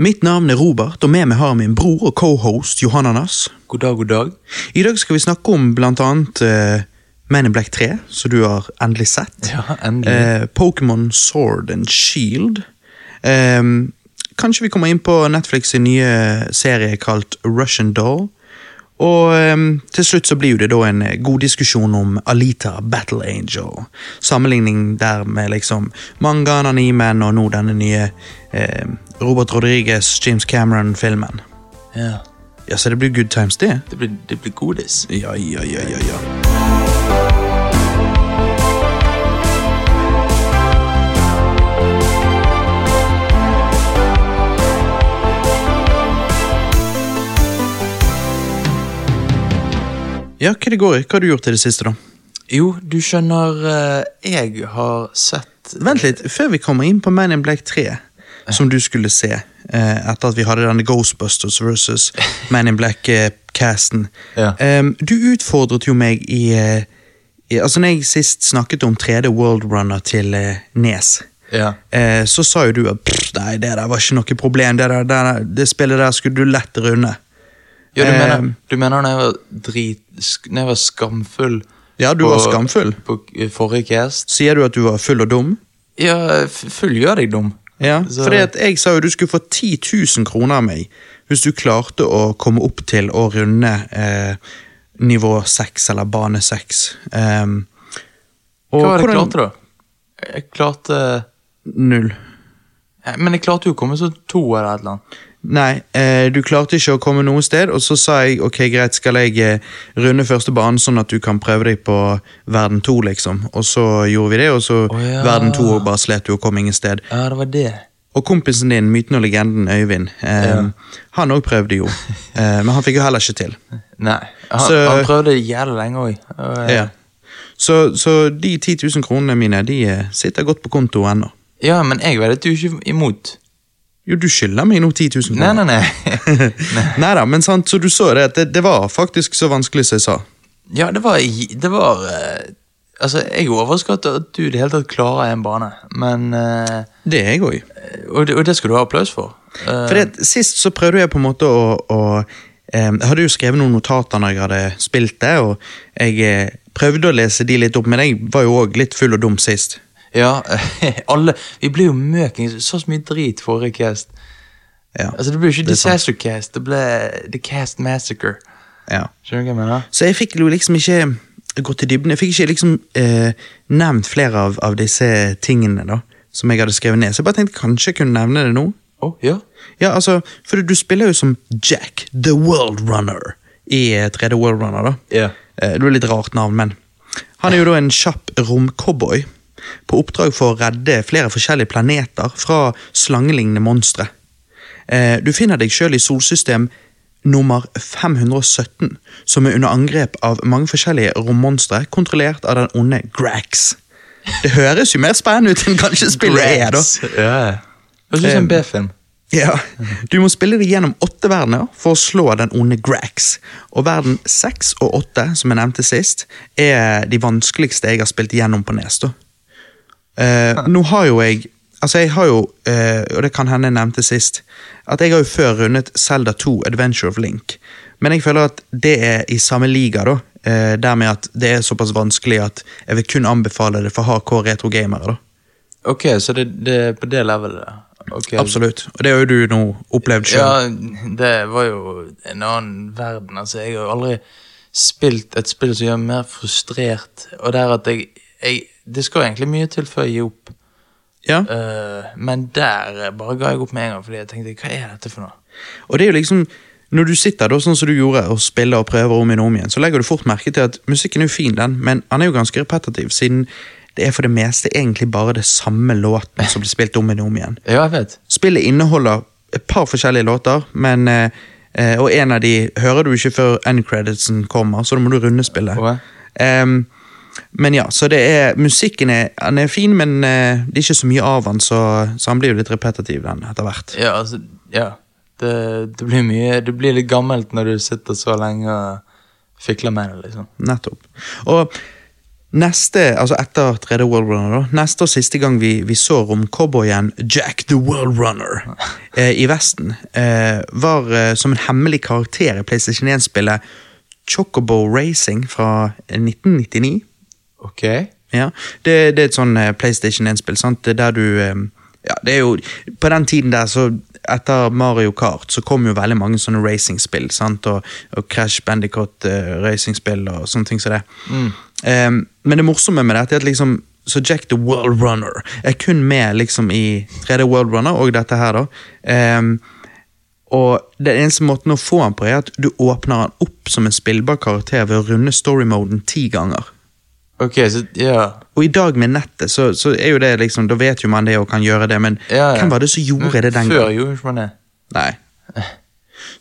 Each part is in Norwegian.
Mitt navn er Robert, og med meg har min bror og cohost Johanna Nass. God dag, god dag. I dag skal vi snakke om blant annet eh, Man in Black 3, som du har endelig sett. Ja, endelig. Eh, Pokémon Sword and Shield. Eh, kanskje vi kommer inn på Netflix' sin nye serie kalt Russian Doll. Og eh, til slutt så blir jo det da en eh, god diskusjon om Alita Battle Angel. Sammenligning der med liksom mangaen, animen og nå denne nye eh, Robert Rodriguez, James Cameron-filmen. Ja. Ja, så det blir good times, det. Det blir, det blir godis. Ja, ja, ja, ja, ja. Ja, hva det går i? Hva har du gjort til det siste, da? Jo, du skjønner, eh, jeg har sett Vent litt, før vi kommer inn på Man in Black 3, som du skulle se eh, etter at vi hadde denne Ghostbusters versus Man in Black-casten. Ja. du utfordret jo meg i, eh, i Altså, når jeg sist snakket om 3D World Runner til eh, Nes, Ja. eh, så sa jo du at «Pff, nei, det der var ikke noe problem, det, der, det, der, det spillet der skulle du lett runde. Ja, du Eh, mener, du mener når jeg var drit... sk- Når jeg var skamfull Ja, du på- var skamfull. På eh, forrige cast? Sier du at du var full og dum? Ja, f- fullgjør deg dum. Ja, Så- fordi at jeg sa jo du skulle få 10 000 kroner av meg hvis du klarte å komme opp til å runde eh, nivå 6 eller bane 6. Um, Hva var det jeg klarte, da? Jeg klarte Null. eh, Men jeg klarte jo å komme som to eller et eller annet. Nei, eh, du klarte ikke å komme noe sted, og så sa jeg ok, greit, skal jeg eh, runde første banen sånn at du kan prøve deg på verden 2, liksom. Og så gjorde vi det, og så Å ja. verden 2 og bare slet du og kom ingen sted. Ja, det var det. Og kompisen din, myten og legenden Øyvind, eh, han òg prøvde jo, eh, men han fikk jo heller ikke til. Nei. Han, Så- han prøvde jævlig lenge eh, òg. Ja. Så, så de 10 000 kronene mine de eh, sitter godt på konto ennå. ja, men jeg veddet jo ikke imot. Jo, du skylder meg nå 10 000 Nei, kroner. nei, nei. Neida, men sant, så du så det at det, det var faktisk så vanskelig som jeg sa. Ja, det var, det var eh, Altså, jeg er overrasket over at du i det hele tatt klarer en bane, men eh, Det er jeg òg. og, det, og det skal du ha applaus for. Eh, For det, sist så prøvde jeg på en måte å, å eh, Jeg hadde jo skrevet noen notater når jeg hadde spilt det, og jeg eh, prøvde å lese de litt opp, men jeg var jo òg litt full og dum sist. Ja, alle Vi ble jo møking. Så så mye drit forrige cast. Ja, Altså, det ble jo ikke Det er sant. Disaster Cast, det ble The Cast Massacre. ja. Skjønner du hva jeg mener? Så jeg fikk jo liksom ikke gått i dybden. Jeg fikk ikke liksom eh, nevnt flere av, av disse tingene da, som jeg hadde skrevet ned. Så jeg bare tenkte kanskje jeg kunne nevne det nå. Å, ja. Ja, altså, For du spiller jo som Jack the World Runner i eh, 3D World Runner. da. Ja. Eh, det er litt rart navn, men. Han er jo da en kjapp romcowboy på oppdrag for å redde flere forskjellige planeter fra slangelignende monstre. Eh, Du finner deg sjøl i solsystem nummer 517, som er under angrep av mange forskjellige rommonstre, kontrollert av den onde Grax. Det høres jo mer spennende ut enn kanskje spillet er, da. Ja. Det høres ut som en B-film. Ja, Du må spille det gjennom åtte verdener for å slå den onde Grax. Og verden seks og åtte, som jeg nevnte sist, er de vanskeligste jeg har spilt gjennom på Nes. da. Eh, nå har jo jeg Altså, jeg har jo, eh, og det kan hende jeg nevnte sist, at jeg har jo før rundet Zelda 2 Adventure of Link. Men jeg føler at det er i samme liga, da. Eh, dermed at det er såpass vanskelig at jeg vil kun anbefale det for hardcore retrogamere. da. Ok, så det, det er på det levelet, da. Ok. Absolutt. Og det har jo du nå opplevd sjøl. Ja, det var jo en annen verden. Altså, jeg har jo aldri spilt et spill som gjør meg mer frustrert. Og det er at jeg, jeg Det skal egentlig mye til før jeg gir opp, Ja. Eh, men der eh, bare ga jeg opp med en gang, fordi jeg tenkte hva er dette for noe? Og det er jo liksom Når du sitter da, sånn som du gjorde, og spiller og prøver om igjen og om igjen, så legger du fort merke til at musikken er jo fin, den, men han er jo ganske repetitiv, siden det er for det meste egentlig bare det samme låten som blir spilt om igjen og om igjen. Ja, jeg vet. Spillet inneholder et par forskjellige låter, men eh, eh, Og en av de hører du ikke før end creditsen kommer, så da må du runde spillet. Åh. Ehm, men ja, så det er Musikken er, han er fin, men eh, det er ikke så mye av han, så, så han blir jo litt repetitiv, den, etter hvert. Ja, altså, ja. Det, det blir mye Det blir litt gammelt når du sitter så lenge og fikler med det, liksom. Nettopp. Og Neste, altså etter tredje World Runner, da, neste og siste gang vi, vi så romcowboyen Jack the World Runner eh, i Vesten, eh, var eh, som en hemmelig karakter i PlayStation 1-spillet Chocobo Racing fra eh, 1999. Ok. Ja, det, det er et sånn eh, PlayStation 1-spill, sant, der du eh, Ja, det er jo På den tiden der, så etter Mario Kart, så kom jo veldig mange sånne racingspill, sant, og, og Crash Bandicoot eh, racingspill og sånne ting som det. Eh, men det morsomme med dette er at liksom så Jack the World Runner er kun med liksom i 3D World Runner og dette her, da. Eh, og den eneste måten å få han på, er at du åpner han opp som en spillbar karakter ved å runde story-moden ti ganger. Ok, så ja. Og i dag med nettet, så, så er jo det liksom, da vet jo man det og kan gjøre det, men ja, ja. hvem var det som gjorde Men det den Før gangen? gjorde ikke man det. Nei.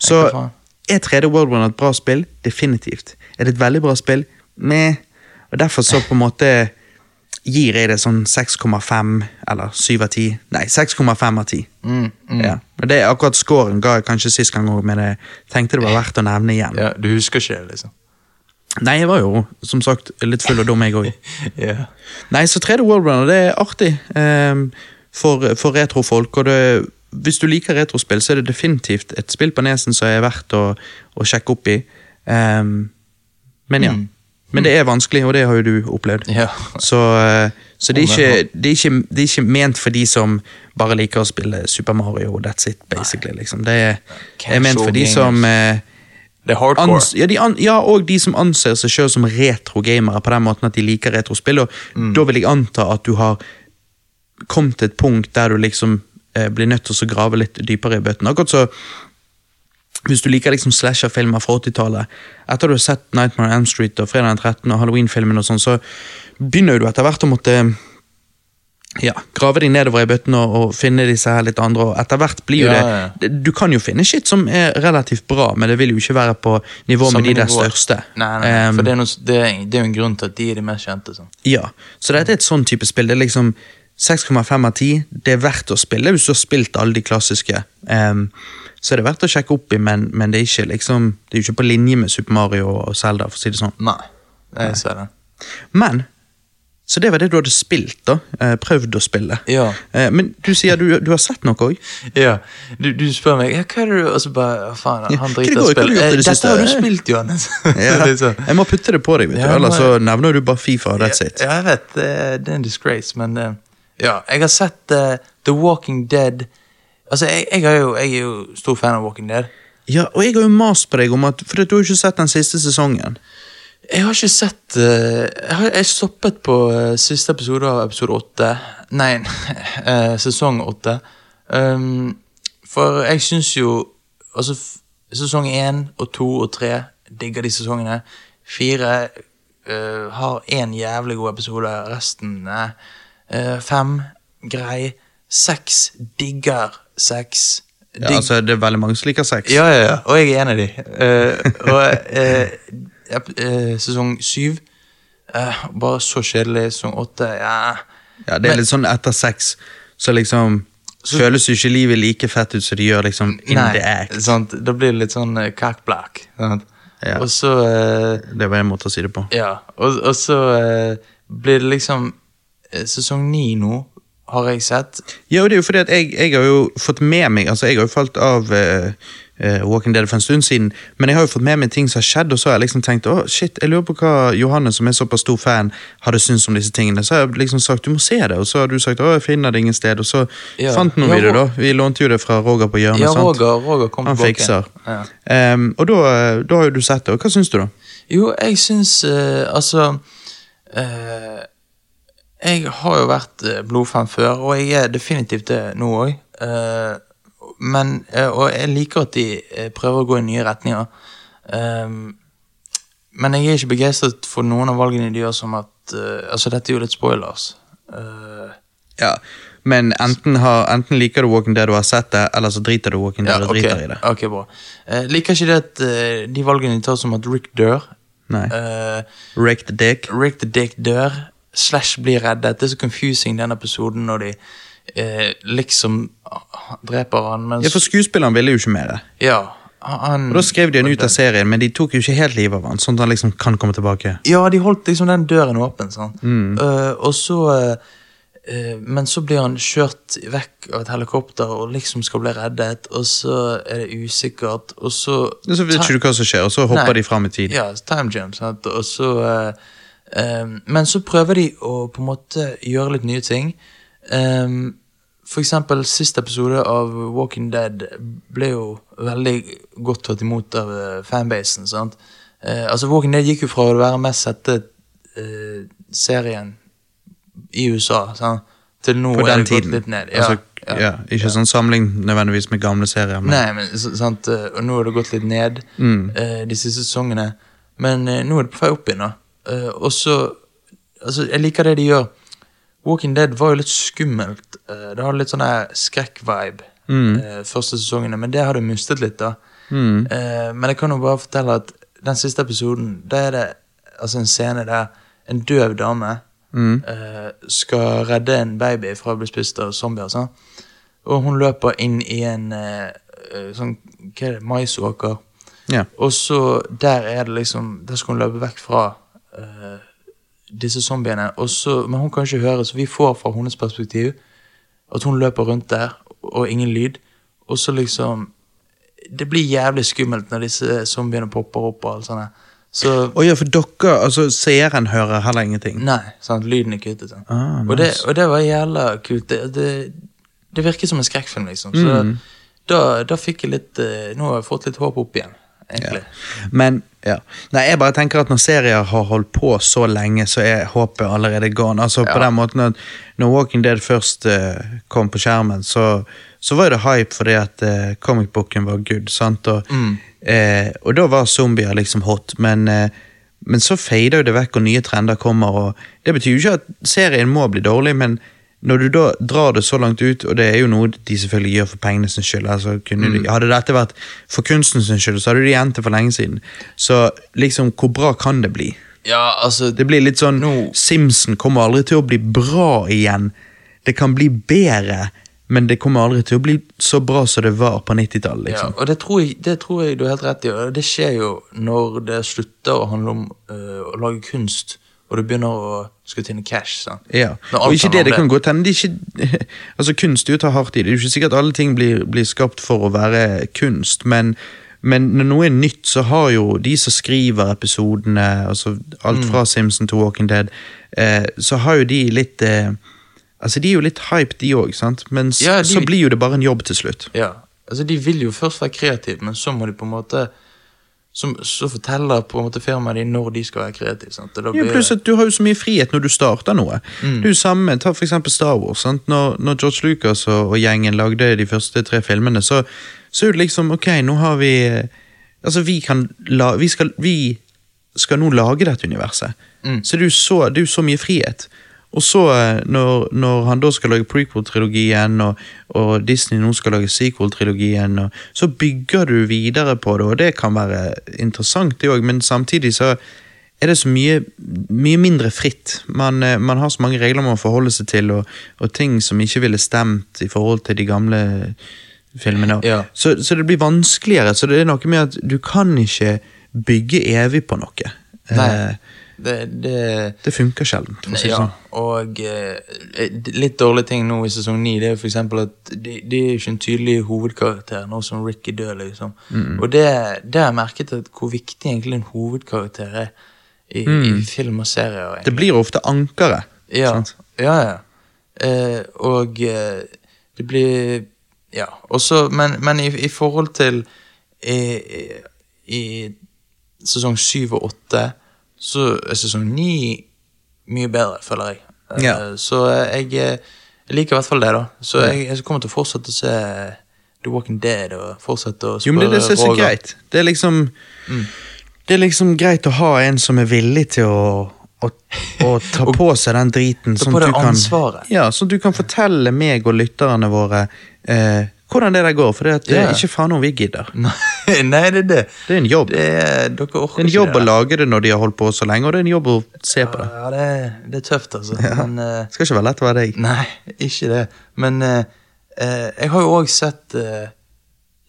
Så hva faen? er 3D World Runner et bra spill? Definitivt. Er det et veldig bra spill? Meh. Og derfor så på en måte gir jeg det sånn 6,5 eller 7 av 10. Nei, 6,5 av 10. Mm, Ja. Og det er akkurat scoren ga jeg kanskje sist gang òg, men jeg tenkte det var verdt å nevne igjen. Ja, du husker ikke det, liksom. Nei, jeg var jo som sagt litt full og dum, jeg òg. Ja. Nei, så 3D World Runner, det er artig ehm, for, for retrofolk. Og det, hvis du liker retrospill, så er det definitivt et spill på nesen som er verdt å, å sjekke opp i. Ehm, men ja. Men det er vanskelig, og det har jo du opplevd. Ja. Så, eh, så det, er ikke, det, er ikke, det er ikke ment for de som bare liker å spille Super Mario, that's it, basically. Liksom. Det er, er ment for de som eh, Det er hardcore. Ans, ja, de an, ja, og de som anser seg selv som retro-gamere på den måten at de liker retrospill. Og da vil jeg anta at du har kommet til et punkt der du liksom eh, blir nødt til å grave litt dypere i bøtten. Akkurat så hvis du liker liksom slasher-filmer fra 80-tallet, etter du har sett Nightmare on Elm Street og Fredag den 13. og Halloween-filmen og sånn, så begynner du etter hvert å måtte ja, grave deg nedover i bøtten og, og finne disse her litt andre, og etter hvert blir jo Ja, ja. det det- Du kan jo finne shit som er relativt bra, men det vil jo ikke være på nivå med Samme de der nivå. største. Nei, nei, nei, Ehm, for det er, noe, det, er, det er jo en grunn til at de er de mest kjente. Sånn. Ja, så dette er et sånn type spill. Det er liksom 6,5 av 10. Det er verdt å spille hvis du har spilt alle de klassiske. Ehm, så er det verdt å sjekke opp i, men, men det, er ikke, liksom, det er jo ikke på linje med Super Mario og Zelda. for å si det sånn. Nei, jeg ser den. Men Så det var det du hadde spilt, da. eh, prøvd å spille. Ja. Eh, men du sier du, du har sett noe òg? Ja, du, du spør meg ja, hva er det du Og så bare faen, Ja, han hva er det du har- hva har du driter i spill. gjort i Eh, det Dette siste? har du spilt, Johannes. Det er sånn. Jeg må putte det på deg, vet du, Ja, ellers men- så nevner du bare Fifa. og That's it. Ja, jeg vet. Det, det er en disgrace, men eh, Ja, jeg har sett eh, The Walking Dead. Altså, jeg, jeg, har jo, jeg er jo stor fan av Walking Dead. Ja, Og jeg har jo mast på deg om at For du har jo ikke sett den siste sesongen. Jeg har ikke sett eh, jeg, har, jeg stoppet på eh, siste episode av episode åtte. Nei, eh, sesong åtte. Um, for jeg syns jo Altså, f- sesong én og to og tre digger de sesongene. Fire eh, har én jævlig god episode, resten nei. Eh, Fem grei. Seks digger seks. Ja, altså, Det er veldig mange som liker sex. Ja, ja, ja. Og jeg er en av de. Eh, og eh, ep- eh, sesong syv eh, Bare så kjedelig. Sesong åtte ja. Ja, det er litt sånn etter sex, så liksom Føles jo ikke livet like fett ut som det gjør liksom in the act. sant? Da blir det litt sånn uh, cockblack. Sant? Ja. Og så eh, Det var en måte å si det på. Ja. Og, og så eh, blir det liksom eh, Sesong ni nå har jeg sett. Ja, og det er jo fordi at jeg, jeg har jo fått med meg Altså, jeg har jo falt av eh, eh, Walking Dead for en stund siden, men jeg har jo fått med meg ting som har skjedd, og så har jeg liksom tenkt å shit, jeg lurer på hva Johanne, som er såpass stor fan, hadde syntes om disse tingene. Så har jeg liksom sagt du må se det, og så har du sagt å jeg finner det ingen sted, og så Ja. fant nå Ja, vi det, da. Ro- Vi lånte jo det fra Roger på hjørnet, Ja, sant? Roger, Roger kom Han tilbake. fikser. Ja. Ehm, og da, da har jo du sett det, og hva syns du, da? Jo, jeg syns eh, Altså eh, Jeg har jo vært eh, blodfan før, og jeg er definitivt det nå òg. men eh, Og jeg liker at de eh, prøver å gå i nye retninger. Ehm, men jeg er ikke begeistret for noen av valgene de gjør som at eh, Altså, dette er jo litt spoilers. Eh, Ja, men enten, har, enten liker du Walking Dead og har sett det, eller så driter du Walking Dead og ok. driter i det. Ok, bra. Eh, liker ikke det at eh, de valgene de tar som at Rick dør. Nei. Eh, Rake the dick. Rick the Dick dør, Slash blir reddet. Det er så confusing den episoden når de eh, liksom dreper han, men Ja, for skuespilleren ville jo ikke mer. ja. Han, Og Da skrev de han ut av serien, men de tok jo ikke helt livet av han, sånn at han liksom kan komme tilbake. Ja, de holdt liksom den døren åpen, sant. Mm. Eh, og så eh, eh, Men så blir han kjørt vekk av et helikopter og liksom skal bli reddet, og så er det usikkert, og så Og så vet Ta- ikke du hva som skjer, og så hopper Nei. de fram i tid. Ja, time jump, sant? og så eh, eh, Men så prøver de å på en måte gjøre litt nye ting. Ehm, for eksempel siste episode av Walking Dead ble jo veldig godt tatt imot av eh, fanbasen. sant? Eh, altså Walking Dead gikk jo fra å være mest sette eh, serien i USA sant? til nå På er den det gått tiden. litt ned. Ja, altså, ja, ja. ikke sånn samling nødvendigvis med gamle serier, men Nei, men s- sant, eh, og nå har det gått litt ned eh, de siste sesongene. Men eh, nå er det på vei opp igjen, da. Eh, og så Altså, jeg liker det de gjør. Walking Dead var jo litt skummelt. eh, det hadde litt sånn her skrekk-vibe eh, første sesongene, men det har det mistet litt, da. Eh, men jeg kan jo bare fortelle at den siste episoden, da er det altså en scene der en døv dame Mm. eh, skal redde en baby fra å bli spist av zombier. Sånn. Og hun løper inn i en eh, eh, sånn hva er det, maisåker. ja. Og så der er det liksom Der skal hun løpe vekk fra eh, disse zombiene. Og så, men hun kan ikke høre, så vi får fra hennes perspektiv at hun løper rundt der, og ingen lyd. Og så liksom Det blir jævlig skummelt når disse zombiene popper opp og alt sånt. der. Så Å ja, for dere, altså seeren hører heller ingenting. Nei, sant, lyden er kuttet. sånn. Sant? Ah, Mm. og, det, og det var jævla kult. Det, det, det virket som en skrekkfilm, liksom. Så Mm. da, da fikk jeg litt eh, Nå har jeg fått litt håp opp igjen, egentlig. Men ja. Nei, jeg bare tenker at når serier har holdt på så lenge, så er håpet allerede gone. Altså på Ja. den måten at Når Walking Dead først eh, kom på skjermen, så, så var det hype fordi at uh, comicbooken var good. sant? Og, eh, og da var zombier liksom hot, men, eh, men så fader jo det vekk, og nye trender kommer. og Det betyr jo ikke at serien må bli dårlig, men når du da drar det så langt ut, og det er jo noe de selvfølgelig gjør for pengene sin skyld altså kunne de, Mm. Hadde dette vært for kunsten sin skyld, så hadde de gjemt det for lenge siden. Så liksom, hvor bra kan det bli? Ja, altså Det blir litt sånn Nå- Simpson kommer aldri til å bli bra igjen. Det kan bli bedre, men det kommer aldri til å bli så bra som det var på 90-tallet. ja, Liksom. Og det tror, jeg, det tror jeg du har helt rett i. Og det skjer jo når det slutter å handle om eh, å lage kunst, og du begynner å skulle tjene cash. Sant? Ja. Når alt Og ikke handler om det, det kan godt hende de ikke Altså, kunst det er jo tar hardt i. Det er jo ikke sikkert alle ting blir, blir skapt for å være kunst, men men når noe er nytt, så har jo de som skriver episodene, altså alt Mm. fra Simpson til Walking Dead, eh, så har jo de litt eh, Altså, de er jo litt hype, de òg, sant? Men s- Ja, de- så blir jo det bare en jobb til slutt. Ja, altså De vil jo først være kreative, men så må de på en måte så, så forteller på en måte firmaet de når de skal være kreative. Sant? Og da Ja, blir Mm. pluss det- at du har jo så mye frihet når du starter noe. Det er jo samme, Ta for eksempel Star Wars. Sant? Når, når George Lucas og, og gjengen lagde de første tre filmene, så, så er det liksom Ok, nå har vi eh, Altså, vi kan la, vi, skal, vi skal nå lage dette universet. Mm. Så det er jo så, det er jo så mye frihet. Og så, eh, når, når han da skal lage prequel-trilogien, og, og Disney nå skal lage sequel-trilogien, og- så bygger du videre på det, og det kan være interessant, det òg, men samtidig så er det så mye, mye mindre fritt. Man, eh, man har så mange regler man må forholde seg til, og, og ting som ikke ville stemt i forhold til de gamle filmene. Ja. Så, så det blir vanskeligere. Så det er noe med at du kan ikke bygge evig på noe. Nei. Eh, det, det Det funker sjelden, for å si det Ja, sånn. og eh, litt dårlige ting nå i sesong 9 Det er jo for eksempel at det de er ikke en tydelig hovedkarakter Nå som Ricky dør liksom Mm. Og det, det har jeg merket at hvor viktig egentlig en hovedkarakter er I, i film og serier egentlig. Mm. Det blir ofte ankeret. Ja, sant? ja, ja. Eh, og eh, det blir Ja. Og så, men, men i, i forhold til i, i- I sesong syv og åtte så er sesong ni mye bedre, føler jeg. Eh, Ja. Så jeg, eh, jeg liker i hvert fall det, da. Så jeg, jeg kommer til å fortsette å se The Walking Dead og fortsette å Jo, men det er det som er så Roger. greit. Det er liksom Det er liksom greit å ha en som er villig til å å, å ta på seg den driten. Ta sånn på at deg du kan- ansvaret. Ja, så du kan fortelle meg og lytterne våre eh, hvordan det der går. For det, at, det Ja. er ikke faen om vi gidder. Nei, nei, det er det. Det er en jobb. det er, dere orker Det er en ikke det. jobb å lage det når de har holdt på så lenge, og det er en jobb å se på det. Ja, det, er- det er tøft, altså. Men eh, Det skal ikke være lett å være deg. Nei, ikke det. Men eh, eh, jeg har jo òg sett eh,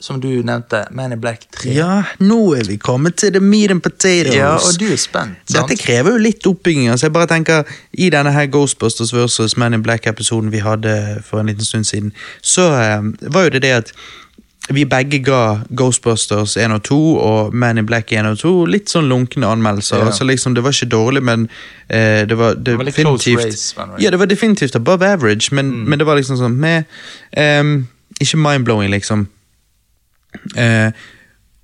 som du nevnte, Man in Black 3. Ja, nå er vi kommet til the meat and potatoes. Ja, og du er spent, sant? Dette krever jo litt oppbygging. altså jeg bare tenker, I denne her Ghostbusters versus Man in Black-episoden vi hadde for en liten stund siden, så eh, var jo det det at vi begge ga Ghostbusters 1 og 2 og Man in Black 1 og 2 litt sånn lunkne anmeldelser. Ja. altså liksom Det var ikke dårlig, men eh, det var var litt close definitivt race, var det vel? Mm. Ja, det var definitivt above average, men, men det var liksom sånn med, ehm, Ikke mind-blowing, liksom. Eh,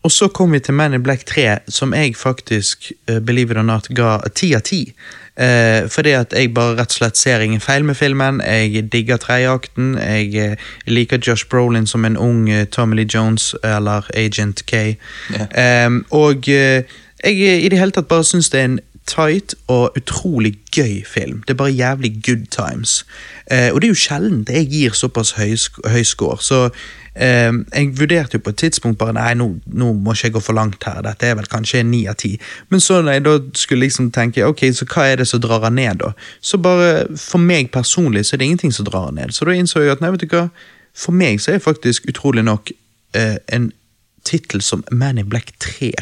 og så kom vi til Man in Black 3, som jeg faktisk, eh, believe it or not, ga 10 av 10. Eh, fordi at jeg bare rett og slett ser ingen feil med filmen. Jeg digger tredjeakten. Jeg eh, liker Josh Brolin som en ung eh, Tommy Lee Jones eller Agent K. Ja. Eh, og eh, jeg eh, i det hele tatt bare syns det er en tight og utrolig gøy film. Det er bare jævlig good times. Eh, og det er jo sjelden jeg gir såpass høy, sk- høy score, så eh, jeg vurderte jo på et tidspunkt bare nei, nå, nå må ikke jeg gå for langt her, dette er vel kanskje ni av ti. Men så når jeg da skulle liksom tenke ok, så hva er det som drar han ned, da? Så bare for meg personlig så er det ingenting som drar han ned. Så da innså jeg at nei, vet du hva, for meg så er faktisk utrolig nok eh, en tittel som Man in Black 3.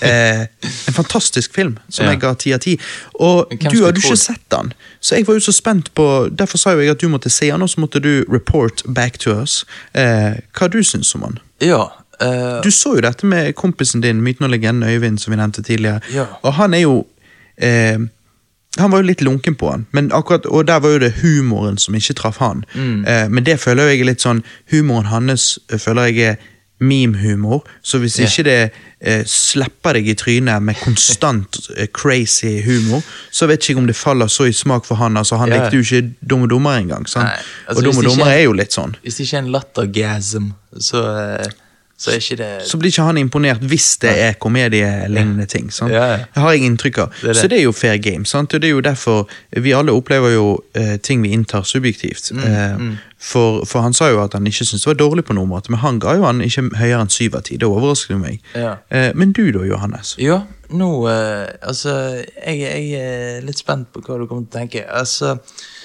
Eh, en fantastisk film som Ja. jeg ga 10 av 10. Og Men hvem du skulle hadde jo trodd? ikke sett den, så jeg var jo så spent på Derfor sa jo jeg at du måtte se den, og så måtte du report back to us eh, hva du syns om den. Ja. eh, Du så jo dette med kompisen din, myten og legenden Øyvind, som vi nevnte tidligere. Ja. Og han er jo eh, Han var jo litt lunken på han, men akkurat, og der var jo det humoren som ikke traff han. Mm. Eh, men det føler jeg er litt sånn Humoren hans eh, føler jeg er meme-humor, så hvis Ja. ikke det eh, slipper deg i trynet med konstant eh, crazy humor, så vet ikke jeg om det faller så i smak for han. altså Han Ja. likte jo ikke Dum og dummere engang. sant? Nei, altså, og Dum hvis og det ikke- dummere er jo litt sånn. hvis det ikke er en lattergasm, så, eh, så er ikke det så blir ikke han imponert hvis det er komedielignende ting. Sant? Ja, ja. Det har jeg inntrykk av. Det er det. Så det er jo fair game. Sant? Og det er jo derfor vi alle opplever jo eh, ting vi inntar subjektivt. Mm, Eh, For, for han sa jo at han ikke syntes det var dårlig på noen måte, men han ga jo han ikke høyere enn syv av ti. Det overrasker jo meg. Ja. Eh, men du da, Johannes? Ja, nå eh, Altså, jeg, jeg er litt spent på hva du kommer til å tenke. Altså,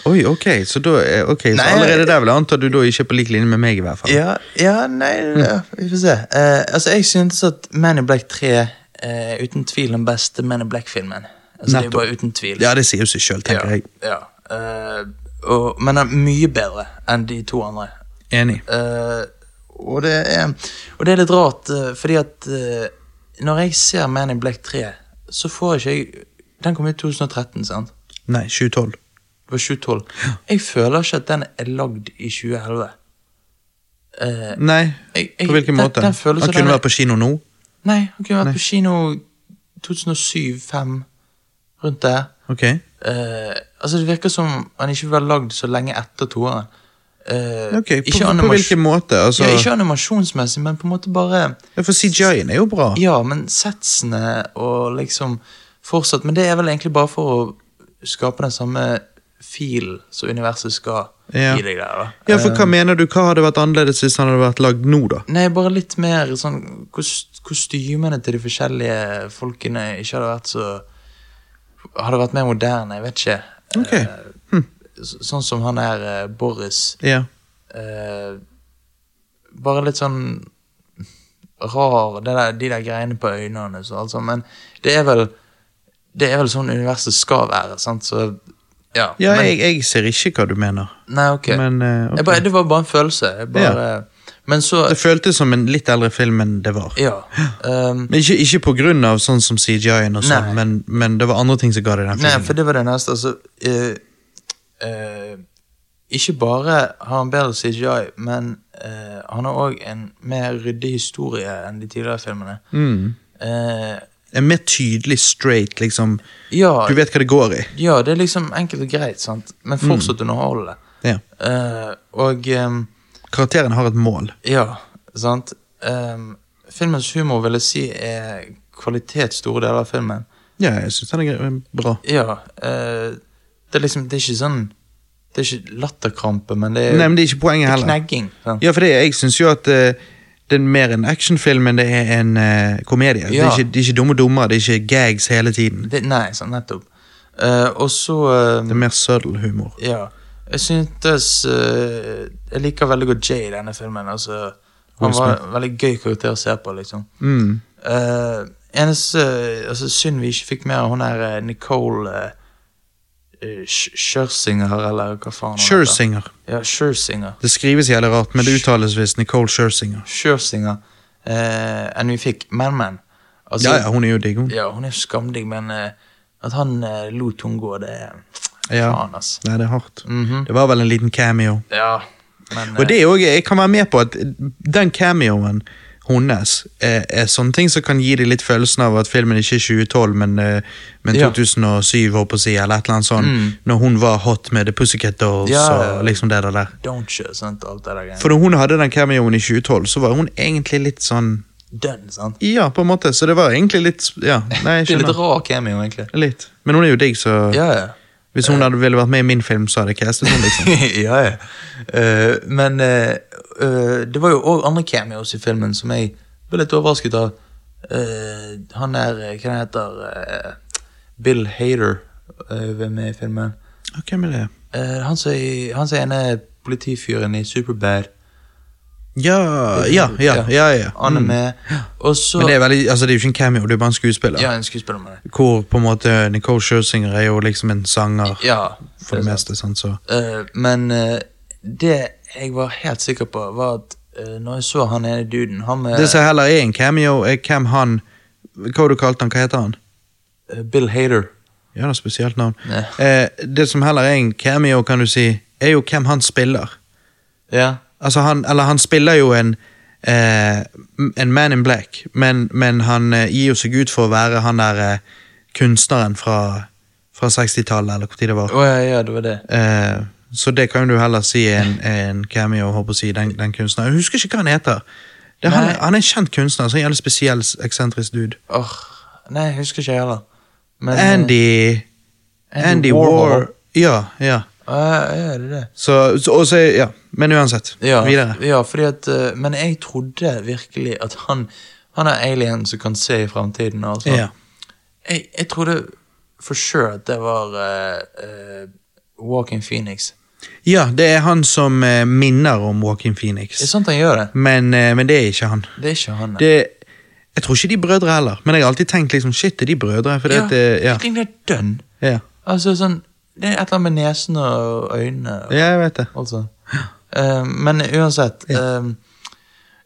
Oi, ok, så, da, eh, ok, så Nei, allerede der vil jeg anta du da ikke er på lik linje med meg, i hvert fall. ja, ja nei, Mm. ja, vi får se. Eh, altså, jeg synes at Man in Black 3 eh, uten tvil den beste Man in Black-filmen. Altså, det er Nettopp. jo bare uten tvil. Ja, det sier jo seg sjøl, tenker jeg. Ja, eh, og, men den er mye bedre enn de to andre. Enig. Eh, og, det er, og det er litt rart, eh, fordi at eh, når jeg ser Man in Black 3, så får ikke jeg Den kom ut i 2013, sant? Nei, 7-12. Det var 2012. Jeg føler ikke at den er lagd i 2011. Eh, Nei, jeg- jeg- på hvilken den- måte? Den følelsen han kunne den- vært på kino nå? Nei, han kunne vært på kino 2007-2005, rundt der. Ok. Eh, altså Det virker som han ikke var lagd så lenge etter toeren. Uh, Ok, på, på hvilken måte? Altså, ja, ikke animasjonsmessig, men på en måte bare Ja, For CGI-en er jo bra. Ja, men setsene og liksom fortsatt Men det er vel egentlig bare for å skape den samme filen som universet skal Ja. gi deg der. da. Ja, for Hva mener du, hva hadde vært annerledes hvis han hadde vært lagd nå, da? Nei, bare litt mer sånn kos- Kostymene til de forskjellige folkene ikke hadde vært så Hadde vært mer moderne, jeg vet ikke. Ok, Eh, S- Sånn som han der eh, Boris. ja. eh, bare litt sånn rar det der, De der greiene på øynene og så, altså. Men det er vel Det er vel sånn universet skal være, sant? Så ja. ja men, jeg, jeg ser ikke hva du mener, nei, ok. men eh, ok. Jeg bare, det var bare en følelse. Jeg bare, Men så Det føltes som en litt eldre film enn det var. Ja. ehm, Men Ikke, ikke på grunn av sånn som CGI-en, og sånn, Nei. men, men det var andre ting som ga det den Nei, filmen. for det var det neste. Altså, eh, eh, ikke bare har han bedre CGI, men eh, han har òg en mer ryddig historie enn de tidligere filmene. Mm. Eh, En mer tydelig straight, liksom. ja, Du vet hva det går i. ja, det er liksom enkelt og greit, sant? men Mm. fortsatt underholdende. Ja. Eh, og ehm, Karakteren har et mål. ja, sant Ehm, Filmens humor vil jeg si er kvalitet store deler av filmen. Ja, jeg syns den er gre- bra. Ja, eh, det er liksom Det er ikke sånn Det er ikke latterkrampe, men Eh, det er Nei, men det er ikke poenget heller. Knegging. Sant? Ja, for det, jeg syns jo at eh, det er mer en actionfilm enn det er en eh, komedie. Det, Ja. er ikke, det er ikke dumme dummer, det er ikke gags hele tiden. Det, nei, sant, nettopp. Eh, og så Det eh, er mer subtle humor. Ja. Jeg syntes eh, Jeg liker veldig godt Jay i denne filmen. Altså, Han Will var en veldig gøy karakter å se på, liksom. Mm. Eh, eneste altså, Synd vi ikke fikk mer av hun her eh, Nicole uh, Scherzinger, eller hva faen hun heter. Scherzinger. Ja, Scherzinger. Det skrives jævlig rart, men det uttales visst Nicole Scherzinger. Scherzinger eh, enn vi fikk. Men, men. Altså, Ja, ja, hun er jo digg, hun. Ja, hun er jo skamdigg, men eh, at han eh, lot hun gå, det er Ja. Faen, ass. Nei, det er hardt. Det var vel en liten cameo. Ja, men Og det er jo, jeg kan være med på at den cameoen hennes er, er sånne ting som kan gi deg litt følelsen av at filmen ikke er 2012, men, eh, men Ja. Mm. 2007, håper jeg å si, eller et eller annet sånt, når hun var hot med The Pussycat Dolls Ja. og liksom det der der. eh, Don't you, sant, alt det der greiene. For når hun hadde den cameoen i 2012, så var hun egentlig litt sånn Dønn, sant? Ja, på en måte, så det var egentlig litt Ja, nei, jeg Det er litt skjønner. rar cameo, egentlig. Litt. Men hun er jo digg, så Ja, ja. hvis hun hadde ville vært med i min film, så hadde jeg castet henne, liksom. ja, ja. Eh, men eh, eh, det var jo òg andre cameos i filmen som jeg ble litt overrasket av. Eh, han der, eh, hva heter eh, Bill Hader eh, var med i filmen. Ok, men det Eh, han som er han som er ene politifyren i Superbad. Ja, ja, ja, ja, Mm. ja. Han er med. Og så Men det er, veldig, altså, det er jo ikke en cameo, det er bare en skuespiller. Ja, en skuespiller med det. Hvor på en måte Nicole Scherzinger er jo liksom en sanger Ja, for det, er sant. meste. sant, så. Eh, men eh, det jeg var helt sikker på, var at eh, når jeg så han ene duden Han med Det som heller er en cameo, er hvem han Hva har du kalt han, hva heter han? eh, Bill Hader. Ja, det er spesielt navn. Ja. Eh, det som heller er en cameo, kan du si, er jo hvem han spiller. Ja. Altså han, eller han spiller jo en eh, En man in black, men, men han eh, gir jo seg ut for å være han der eh, kunstneren fra, fra 60-tallet, eller hvor tid det var. Å ja, ja, det var det. Eh, så det kan jo du heller si er en, er en cameo, håper jeg å si, den, den kunstneren. Jeg husker ikke hva han heter. Det, er han, Nei. han er en kjent kunstner, så en jævlig spesiell, eksentrisk dude. Åh, Nei, jeg husker ikke jeg heller. Men, eh, Andy Andy Andy Warhol. War... Ja, ja. Å, ja, ja, det er det. Så, så, og så ja. Men uansett, Ja, videre. ja, fordi at eh, Men jeg trodde virkelig at han Han er alien som kan se i fremtiden. Altså. Ja. Jeg, jeg trodde for sure at det var eh, eh, Walking Phoenix. ja, det er han som eh, minner om Joaquin Phoenix. Det er sant han gjør det. Men, eh, men det er ikke han. Det er ikke han. Det, jeg tror ikke de er brødre heller, men jeg har alltid tenkt liksom, shit, er de brødre? For det, at, eh, det ligner dønn. ja, ja. Altså sånn Det er et eller annet med nesen og øynene. og- ja, jeg vet det. Altså. Eh, men uansett ehm,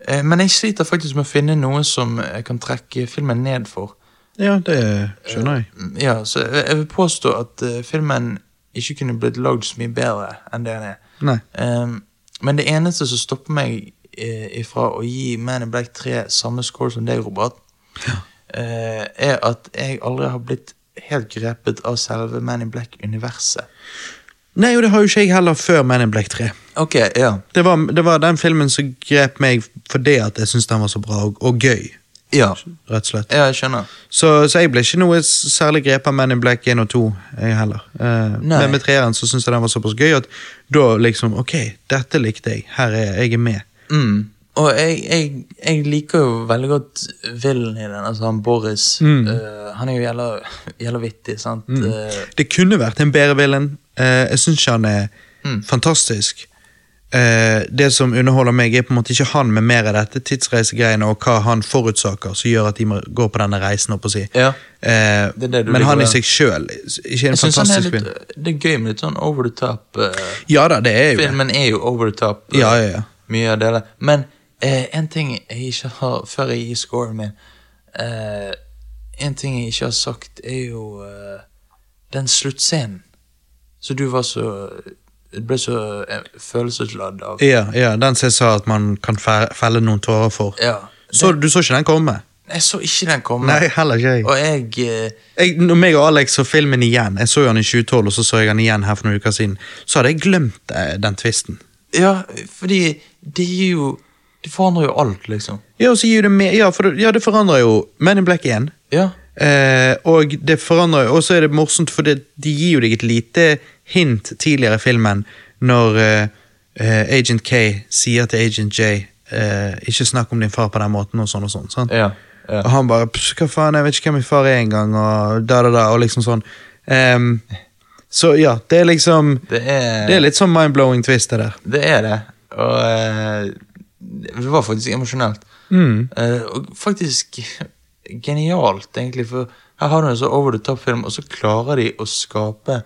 eh, Men jeg sliter faktisk med å finne noe som jeg kan trekke filmen ned for. Ja, det skjønner jeg. Mm, Ja, så jeg jeg vil påstå at eh, filmen ikke kunne blitt lagd så mye bedre enn det den er. Nei. Ehm, men det eneste som stopper meg eh, ifra å gi Man in Black 3 samme score som deg, Robert, eh, er at jeg aldri har blitt helt grepet av selve Man in Black-universet. Nei, og det har jo ikke jeg heller før Men in Black 3. Ok, ja. Det var, det var den filmen som grep meg fordi at jeg syntes den var så bra og, og gøy. Ja, rett og slett. ja jeg skjønner. Så, så jeg ble ikke noe s- særlig grepet av Men in Black 1 og 2, jeg heller. Eh, Nei. men med treeren så syntes jeg den var såpass gøy at da liksom Ok, dette likte jeg. Her er jeg, jeg er med. Mm. Og jeg, jeg, jeg liker jo veldig godt villen i den. Altså han Boris. Mm. eh, han er jo jævla, jævla vittig, sant? Eh, Det kunne vært en bedre villain. Eh, jeg syns ikke han er Mm. fantastisk. Eh, det som underholder meg, er på en måte ikke han med mer av dette tidsreisegreiene og hva han forutsaker som gjør at de må gå på denne reisen. holdt på å si. Ja. Eh, Det er det du men han i liker, seg sjøl ikke en jeg synes han er fantastisk litt, film. det er gøy med litt sånn over the top. eh, Ja da, det er jo det. filmen er jo over the top. eh, Ja, ja, ja. Mye av det der. Men eh, en ting jeg ikke har Før jeg gir scoren min eh, En ting jeg ikke har sagt, er jo eh, den sluttscenen. Så du var så Du ble så eh, følelsesladd av. Ja, ja, den som jeg sa at man kan fe- felle noen tårer for. Ja. Så, du så ikke den komme? Jeg så ikke den komme. Nei, heller ikke jeg. Og jeg eh, jeg, når meg og Alex så filmen igjen, jeg så jo han i 2012, og så så jeg han igjen her for noen uker siden, så hadde jeg glemt eh, den tvisten. Ja, fordi det gir jo Det forandrer jo alt, liksom. Ja, og så gir det mer, ja, for det, ja, det forandrer jo Men in Black 1. Ja. Eh, og det forandrer jo, og så er det morsomt, for det, de gir jo deg et lite hint tidligere i filmen, når eh, eh, Agent K sier til Agent J, eh, ikke snakk om din far på den måten, og sånn og sånn. sant? Ja. ja. Og han bare «Pss, Hva faen, jeg vet ikke hvem min far er engang, og da, da, da, og liksom sånn. Ehm, så ja, det er liksom Det er Det er litt sånn mind-blowing twist, det der. det. Er det. Og eh, Det var faktisk emosjonelt. Eh, og faktisk genialt, egentlig. For her har du en så over the top-film, og så klarer de å skape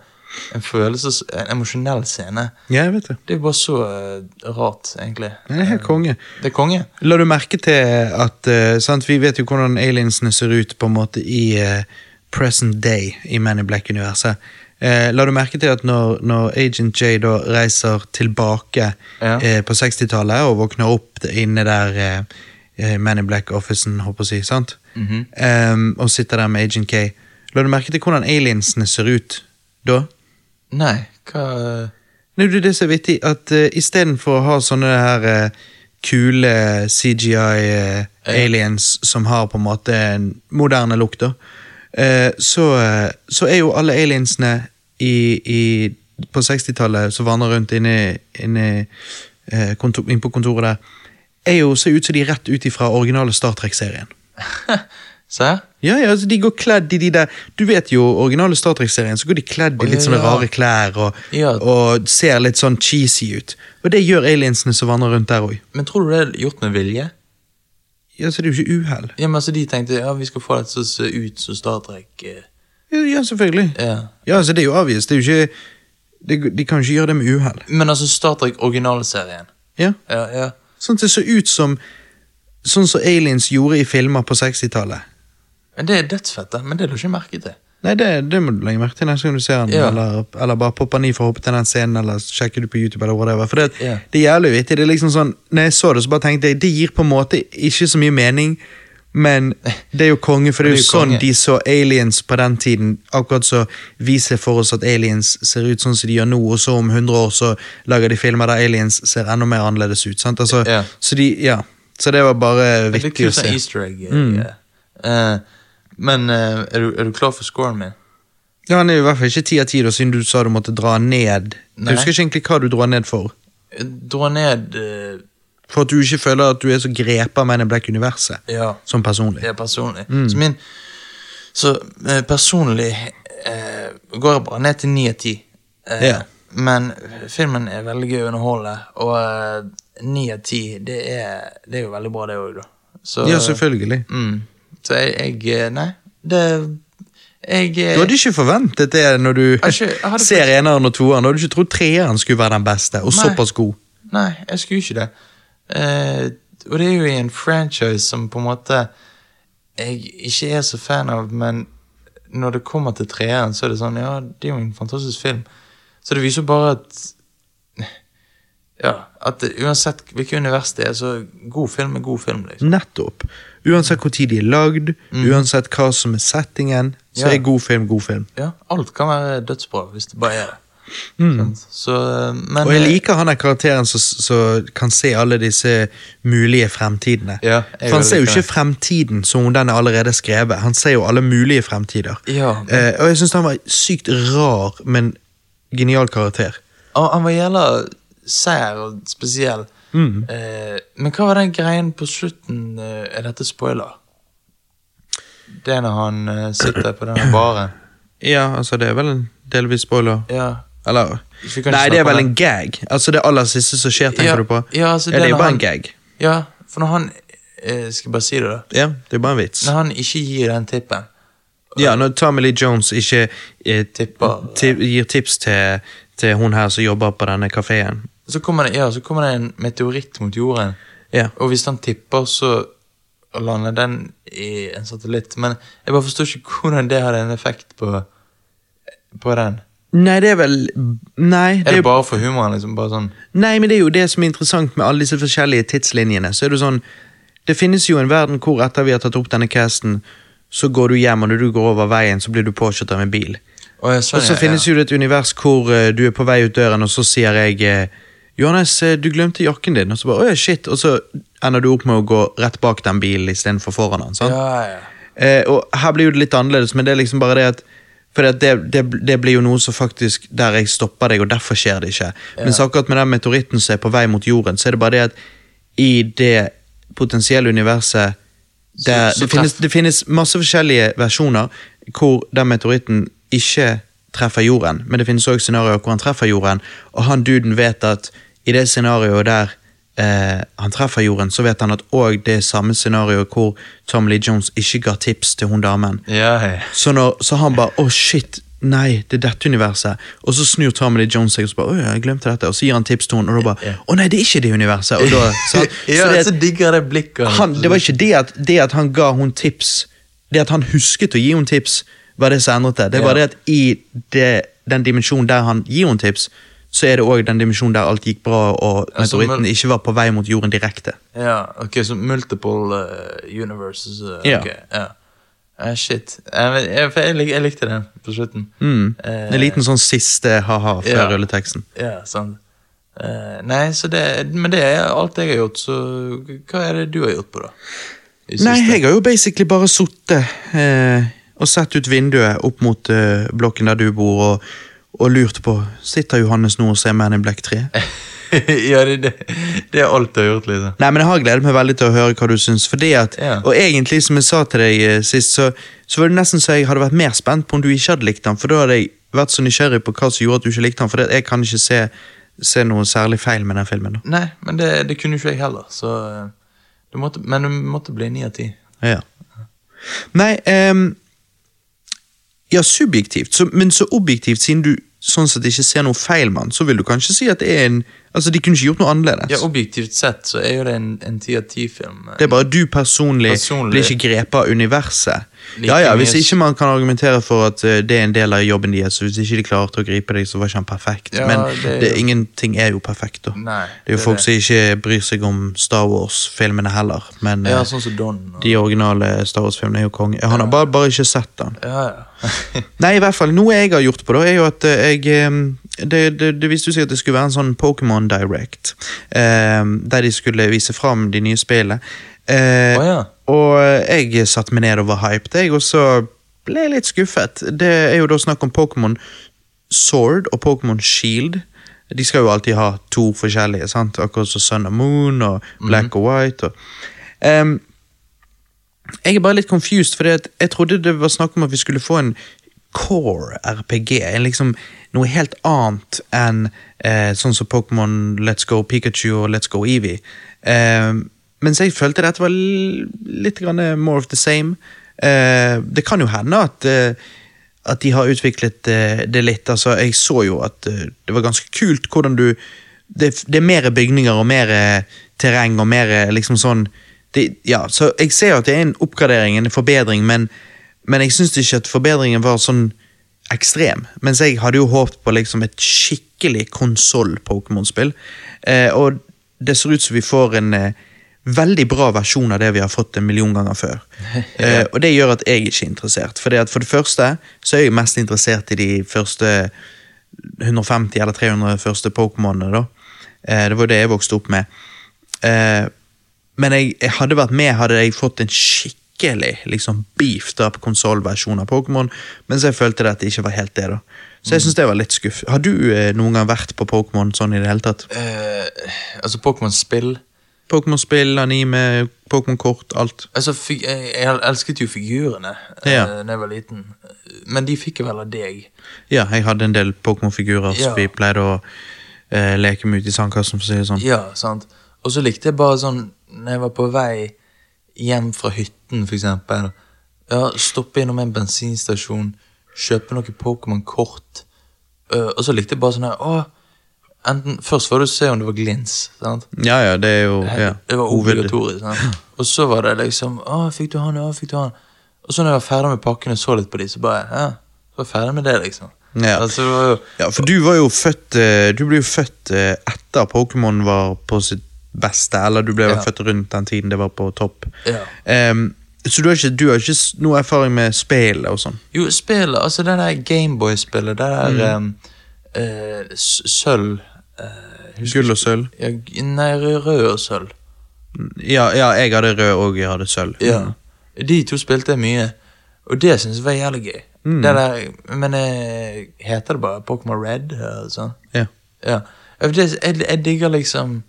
en følelse, en emosjonell scene. Ja, jeg vet det. Det er bare så eh, rart, egentlig. Eh, Det er helt konge. Det er konge. La du merke til at eh, sant, Vi vet jo hvordan aliensene ser ut på en måte i eh, present day i Men in Black-universet. Eh, la du merke til at når, når Agent J da reiser tilbake Ja. eh, på 60-tallet og våkner opp inne der eh, eh, Men in Black-officen, håper jeg å si, sant? Em, og sitter der med Agent K. La du merke til hvordan aliensene ser ut da? Nei, hva Nei, det er det som er vittig, at uh, istedenfor å ha sånne her eh, kule CGI-aliens eh, som har på en måte en moderne lukt, da, eh, så, eh, så er jo alle aliensene i, i, på 60-tallet som vandrer rundt inne, inne, eh, kontor, inn på kontoret der, er jo, ser ut som de er rett ut ifra originale Star Trek-serien. Se her. Ja, ja, altså de går kledd i de der Du vet jo, originale Star Trek-serien Så går de kledd i Å, ja, litt sånne ja. rare klær og, Ja. og ser litt sånn cheesy ut Og det gjør aliensene som vandrer rundt der også Men tror du det er gjort med vilje? Ja, så det er jo ikke uheld Ja, men altså De tenkte ja, vi skal få det til å se ut som Star Trek. eh, Ja, ja selvfølgelig Ja. Ja, altså det er jo avvist Det er jo ikke det, De kan jo ikke gjøre det med uheld Men altså Star Trek originalserien. Ja, Ja, ja. sånn at det ser ut som Sånn som aliens gjorde i filmer på 60-tallet Men Det er dødsfett, da, men det er du ikke merke til. Nei, det, det må du legge merke til neste gang du ser den Ja. eller, eller bare popper den i for å hoppe til den scenen Eller sjekker du på YouTube eller whatever For det, at Ja. det er jævlig vittig Det er liksom sånn, når jeg så det så bare tenkte jeg Det gir på en måte ikke så mye mening Men det er jo konge For det er jo Det er jo sånn konge. de så aliens på den tiden Akkurat så viser for oss at aliens ser ut sånn som de gjør nå Og så om 100 år så lager de filmer der aliens ser enda mer annerledes ut sant? Altså, Ja. Så de, ja Så det var bare Det er vittig å kult med se Mm. easter egg. eh, ja. Eh, men eh, er, du, er du klar for scoren min? Ja, han er jo i hvert fall ikke 10 av 10 da, siden du sa du måtte dra ned. Nei. Jeg husker ikke egentlig hva du drar ned for. Eh, Dra ned eh, For at du ikke føler at du er så grepet av Men in Black-universet. Ja. Som personlig. Ja, eh, personlig. Mm. Så min Så eh, personlig eh, går jeg bare ned til 9 av 10. Eh, Ja. Men filmen er veldig gøy å underholde, og eh, 9 av 10, det er, det er jo veldig bra, det òg, da. Så, Ja, selvfølgelig. mm, så jeg, jeg eh, Nei, det Jeg eh, Du hadde ikke forventet det når du hadde ikke- jeg hadde ser eneren og toeren. Du hadde ikke trodd treeren skulle være den beste, og Nei. såpass god. Nei, jeg skulle ikke det. Eh, og det er jo i en franchise som på en måte jeg ikke er så fan av, men når det kommer til treeren, så er det sånn Ja, det er jo en fantastisk film. Så det viser jo bare at Ja, at det, uansett hvilket univers det er, så god film er god film, liksom. Nettopp. Uansett hvor tid de er lagd, uansett hva som er settingen, så Mm. Ja. er god film god film. Ja, alt kan være dødsbra hvis det bare er det. Sant? Så, eh, men Mm. Og jeg liker han der karakteren som- som kan se alle disse mulige fremtidene. Ja, For jeg han også ser jo liker ikke det. fremtiden som om den er allerede skrevet. Han ser jo alle mulige fremtider. Ja, Eh, og jeg syns han var sykt rar, men genial karakter. Han, han var jævla sær og spesiell. Mm. Eh, men hva var den greien på slutten? eh, er dette spoiler? Det er når han eh, sitter på denne baren. Ja, altså, det er vel en delvis spoiler. Ja. Eller Vi kan ikke Nei, det er snakke om vel en gag. Altså, det aller siste som skjer, tenker Ja, du på? ja, altså, det er den jo bare han- en gag. ja, for når han eh, Skal jeg bare si det, da? Ja, det er bare en vits. Når han ikke gir den tippen Ja, når Tommy Lee Jones ikke eh, Tipper. ti, gir tips til, til hun her som jobber på denne kafeen. så kommer, det, ja, så kommer det en meteoritt mot jorden. Ja. Og hvis han tipper, så lander den i en satellitt. Men jeg bare forstår ikke hvordan det hadde en effekt på, på den. Nei, det er vel Nei, det Er er, det bare for humoren? liksom, bare sånn... nei, men det er jo det som er interessant med alle disse forskjellige tidslinjene. Så er det jo sånn Det finnes jo en verden hvor etter vi har tatt opp denne casten, så går du hjem, og når du går over veien, så blir du påkjørt av en bil. Å, ja, sånn, Og så ja, finnes ja. jo det et univers hvor eh, du er på vei ut døren, og så sier jeg eh, Johannes, eh, du glemte jakken din. Og så bare, åja, shit. Og så ender du opp med å gå rett bak den bilen istedenfor foran den. sant? Ja, ja. Eh, og her blir jo det litt annerledes, men det er liksom bare det at for det, det, det blir jo noe som faktisk der jeg stopper deg, og derfor skjer det ikke. Mens akkurat med den meteoritten som er på vei mot jorden, så er det bare det at i det potensielle universet der, Så- så det, finnes, det finnes masse forskjellige versjoner hvor den meteoritten ikke treffer jorden, men det finnes også scenarioer hvor han treffer jorden, og han duden vet at i det scenarioet der eh, han treffer jorden, så vet han at òg det er samme scenario hvor Tom Lee Jones ikke ga tips til hun damen. Ja, ja. Så, når, så han bare 'Å, shit, nei, det er dette universet'. Og så snur Tommy Lee Jones seg og så bare 'Å, ja, jeg glemte dette', og så gir han tips til henne, og da bare 'Å nei, det er ikke det universet'. Og da, så, ja, så det, så digger jeg det blikket. han, det var ikke det at, det at han ga hun tips, det at han husket å gi hun tips, var det som endret det. Det var Ja. det at i det, den dimensjonen der han gir hun tips, så er det òg den dimensjonen der alt gikk bra og Altså, men- meteoritten ikke var på vei mot jorden direkte. Ja, ok, så multiple eh, universes. eh, Ja. ok, ja. Eh, shit. Jeg, vet- jeg, for jeg, lik, jeg likte den på slutten. Mm. Eh, En liten sånn siste ha-ha før Ja. rulleteksten. Ja, sant. Eh, nei, så det, men det er alt jeg har gjort, så hva er det du har gjort på, da? I Nei, siste? jeg har jo basically bare sittet eh, og sett ut vinduet opp mot eh, blokken der du bor, og, og lurt på Sitter Johannes nå og ser Man in Black 3? ja, det, det, det er alt jeg har gjort, liksom. Nei, men jeg har gledet meg veldig til å høre hva du syns. Fordi at, Ja. Og egentlig, som jeg sa til deg eh, sist, så, så var det nesten så jeg hadde vært mer spent på om du ikke hadde likt den, for da hadde jeg vært så nysgjerrig på hva som gjorde at du ikke likte den, for det, at jeg kan ikke se, se noe særlig feil med den filmen. da. Nei, men det, det kunne ikke jeg heller, så eh, du måtte, Men du måtte bli ni av ti. Ja. Nei, ehm, ja, subjektivt, så, men så objektivt, siden du sånn sett ikke ser noe feil med den, så vil du kanskje si at det er en Altså, de kunne ikke gjort noe annerledes. Ja, objektivt sett så er jo det en- en ti eh, av ti-film. Det er bare du personlig, Personlig. blir ikke grepet av universet. Like ja, ja, Hvis mye- ikke man kan argumentere for at eh, det er en del av jobben deres, så hvis ikke de klarte å gripe deg, så var ikke han perfekt. Ja, Men det er det, jo- ingenting er jo perfekt, da. Nei, det er jo folk som ikke bryr seg om Star Wars-filmene heller, men Ja, eh, sånn som Don. Og, de originale Star Wars-filmene er jo konge. Han har bare, bare ikke sett den. ja, ja. Nei, i hvert fall, noe jeg har gjort på da, er jo at eh, jeg eh, det, det, det viste jo seg at det skulle være en sånn Pokémon Direct, eh, der de skulle vise fram de nye spillene. Eh, Å, ja. Og eh, jeg satte meg ned og var hyped, jeg, og så ble jeg litt skuffet. Det er jo da snakk om Pokémon Sword og Pokémon Shield. De skal jo alltid ha to forskjellige, sant? akkurat som Sun and Moon og Black og White. Og, ehm, Em, jeg er bare litt confused, for jeg trodde det var snakk om at vi skulle få en core RPG. En liksom noe helt annet enn eh, sånn som Pokémon Let's Go Pikachu og Let's Go Eevee. Eh, mens jeg følte dette var l- litt grann eh, more of the same. Eh, det kan jo hende at eh, at de har utviklet eh, det litt. Altså, jeg så jo at eh, det var ganske kult hvordan du Det, det er mer bygninger og mer eh, terreng og mer eh, liksom sånn det, Ja, så jeg ser jo at det er en oppgradering, en forbedring, men, men jeg syns ikke at forbedringen var sånn ekstrem. Mens jeg hadde jo håpet på liksom et skikkelig konsoll-Pokémon-spill. Eh, og det ser ut som vi får en eh, veldig bra versjon av det vi har fått en million ganger før. Eh, og det gjør at jeg ikke er interessert. Fordi at for det første så er jeg mest interessert i de første 150 eller 300 første Pokémonene. da. Eh, det var jo det jeg vokste opp med. Eh, men jeg, jeg hadde vært med hadde jeg fått en skikkelig liksom, beefed up konsollversjon av Pokémon, mens jeg følte det at det ikke var helt det. da. Så Mm. jeg synes det var litt skuff. Har du eh, noen gang vært på Pokémon sånn i det hele tatt? Eh, altså, Pokémon-spill Pokémon-spill, anime, Pokémon-kort, alt. Altså, fi- jeg, jeg elsket jo figurene eh, Ja. da jeg var liten, men de fikk jeg vel av deg. Ja, jeg hadde en del Pokémon-figurer Ja. som vi pleide å eh, leke med ute i sandkassen, for å si det sånn. Ja, sant. Og så likte jeg bare sånn Når jeg var på vei hjem fra hytten, for eksempel. Ja, stoppe innom en bensinstasjon, kjøpe noen Pokémon-kort. øh, og så likte jeg bare sånn her Å, enten Først var det å se om det var glins. sant? Ja, ja, det er jo ja, Det var hoved- obligatorisk. sant? Og så var det liksom Å, fikk du han? Ja, fikk du han? Og så når jeg var ferdig med pakken og så litt på de, så bare Ja, så var jeg ferdig med det, liksom. Ja. Altså, det var jo Ja, for du var jo født eh, Du ble jo født eh, etter Pokémon var på sitt beste, eller du ble vel Ja. født rundt den tiden det var på topp. Ja. Em, så du har ikke, du har ikke s- noe erfaring med spill og sånn? Jo, spillet, altså det der Gameboy-spillet, det der Mm. eh, eh, s- sølv eh, husker Gull og ikke- sølv? Ja, g- nei, rød, rød og sølv. Ja, ja, jeg hadde rød og jeg hadde sølv. Ja. Mm. De to spilte jeg mye, og det synes jeg var jævlig gøy. Mm. Det der, men eh, heter det bare Pokémon Red? eh, Sånn? Ja. Ja. Ja, for det- Jeg, jeg digger liksom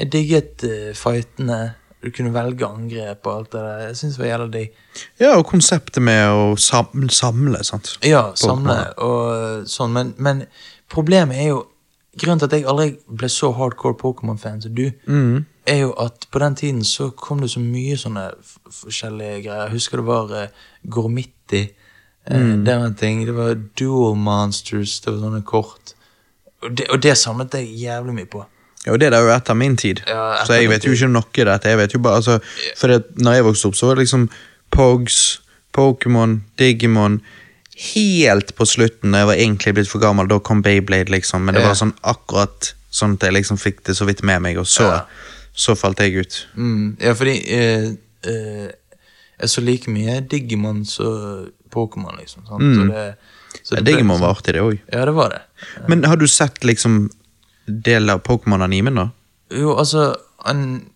Jeg digget eh, fightene. Du kunne velge angrep og alt det der. Jeg synes det var jævlig digg. ja, og konseptet med å samle, samle sant? Ja, samle og sånn, men, men problemet er jo Grunnen til at jeg aldri ble så hardcore Pokémon-fan som du, Mm. er jo at på den tiden så kom det så mye sånne f- forskjellige greier. Jeg husker det var eh, Gormitti. eh, Mm. Det var en ting. Det var Dual Monsters. Det var sånne kort. Og det, og det samlet jeg jævlig mye på. Ja, og det er jo etter min tid, Ja, etter så jeg din vet jo tid. ikke noe i dette. Jeg vet jo bare, altså, for det, når jeg vokste opp, så var det liksom Pogs, Pokémon, Digimon Helt på slutten, da jeg var egentlig blitt for gammel, da kom Beyblade, liksom. Men det Ja. var sånn akkurat sånn at jeg liksom fikk det så vidt med meg, og så, Ja. så falt jeg ut. Mm, ja, fordi eh, eh, jeg så like mye Digimon som Pokémon, liksom. Sant? Så det, Mm. Ja, så det ble Digimon liksom- var artig, det òg. Ja, det var det. Men har du sett liksom del av Pokémon-animen, da? Jo, altså an,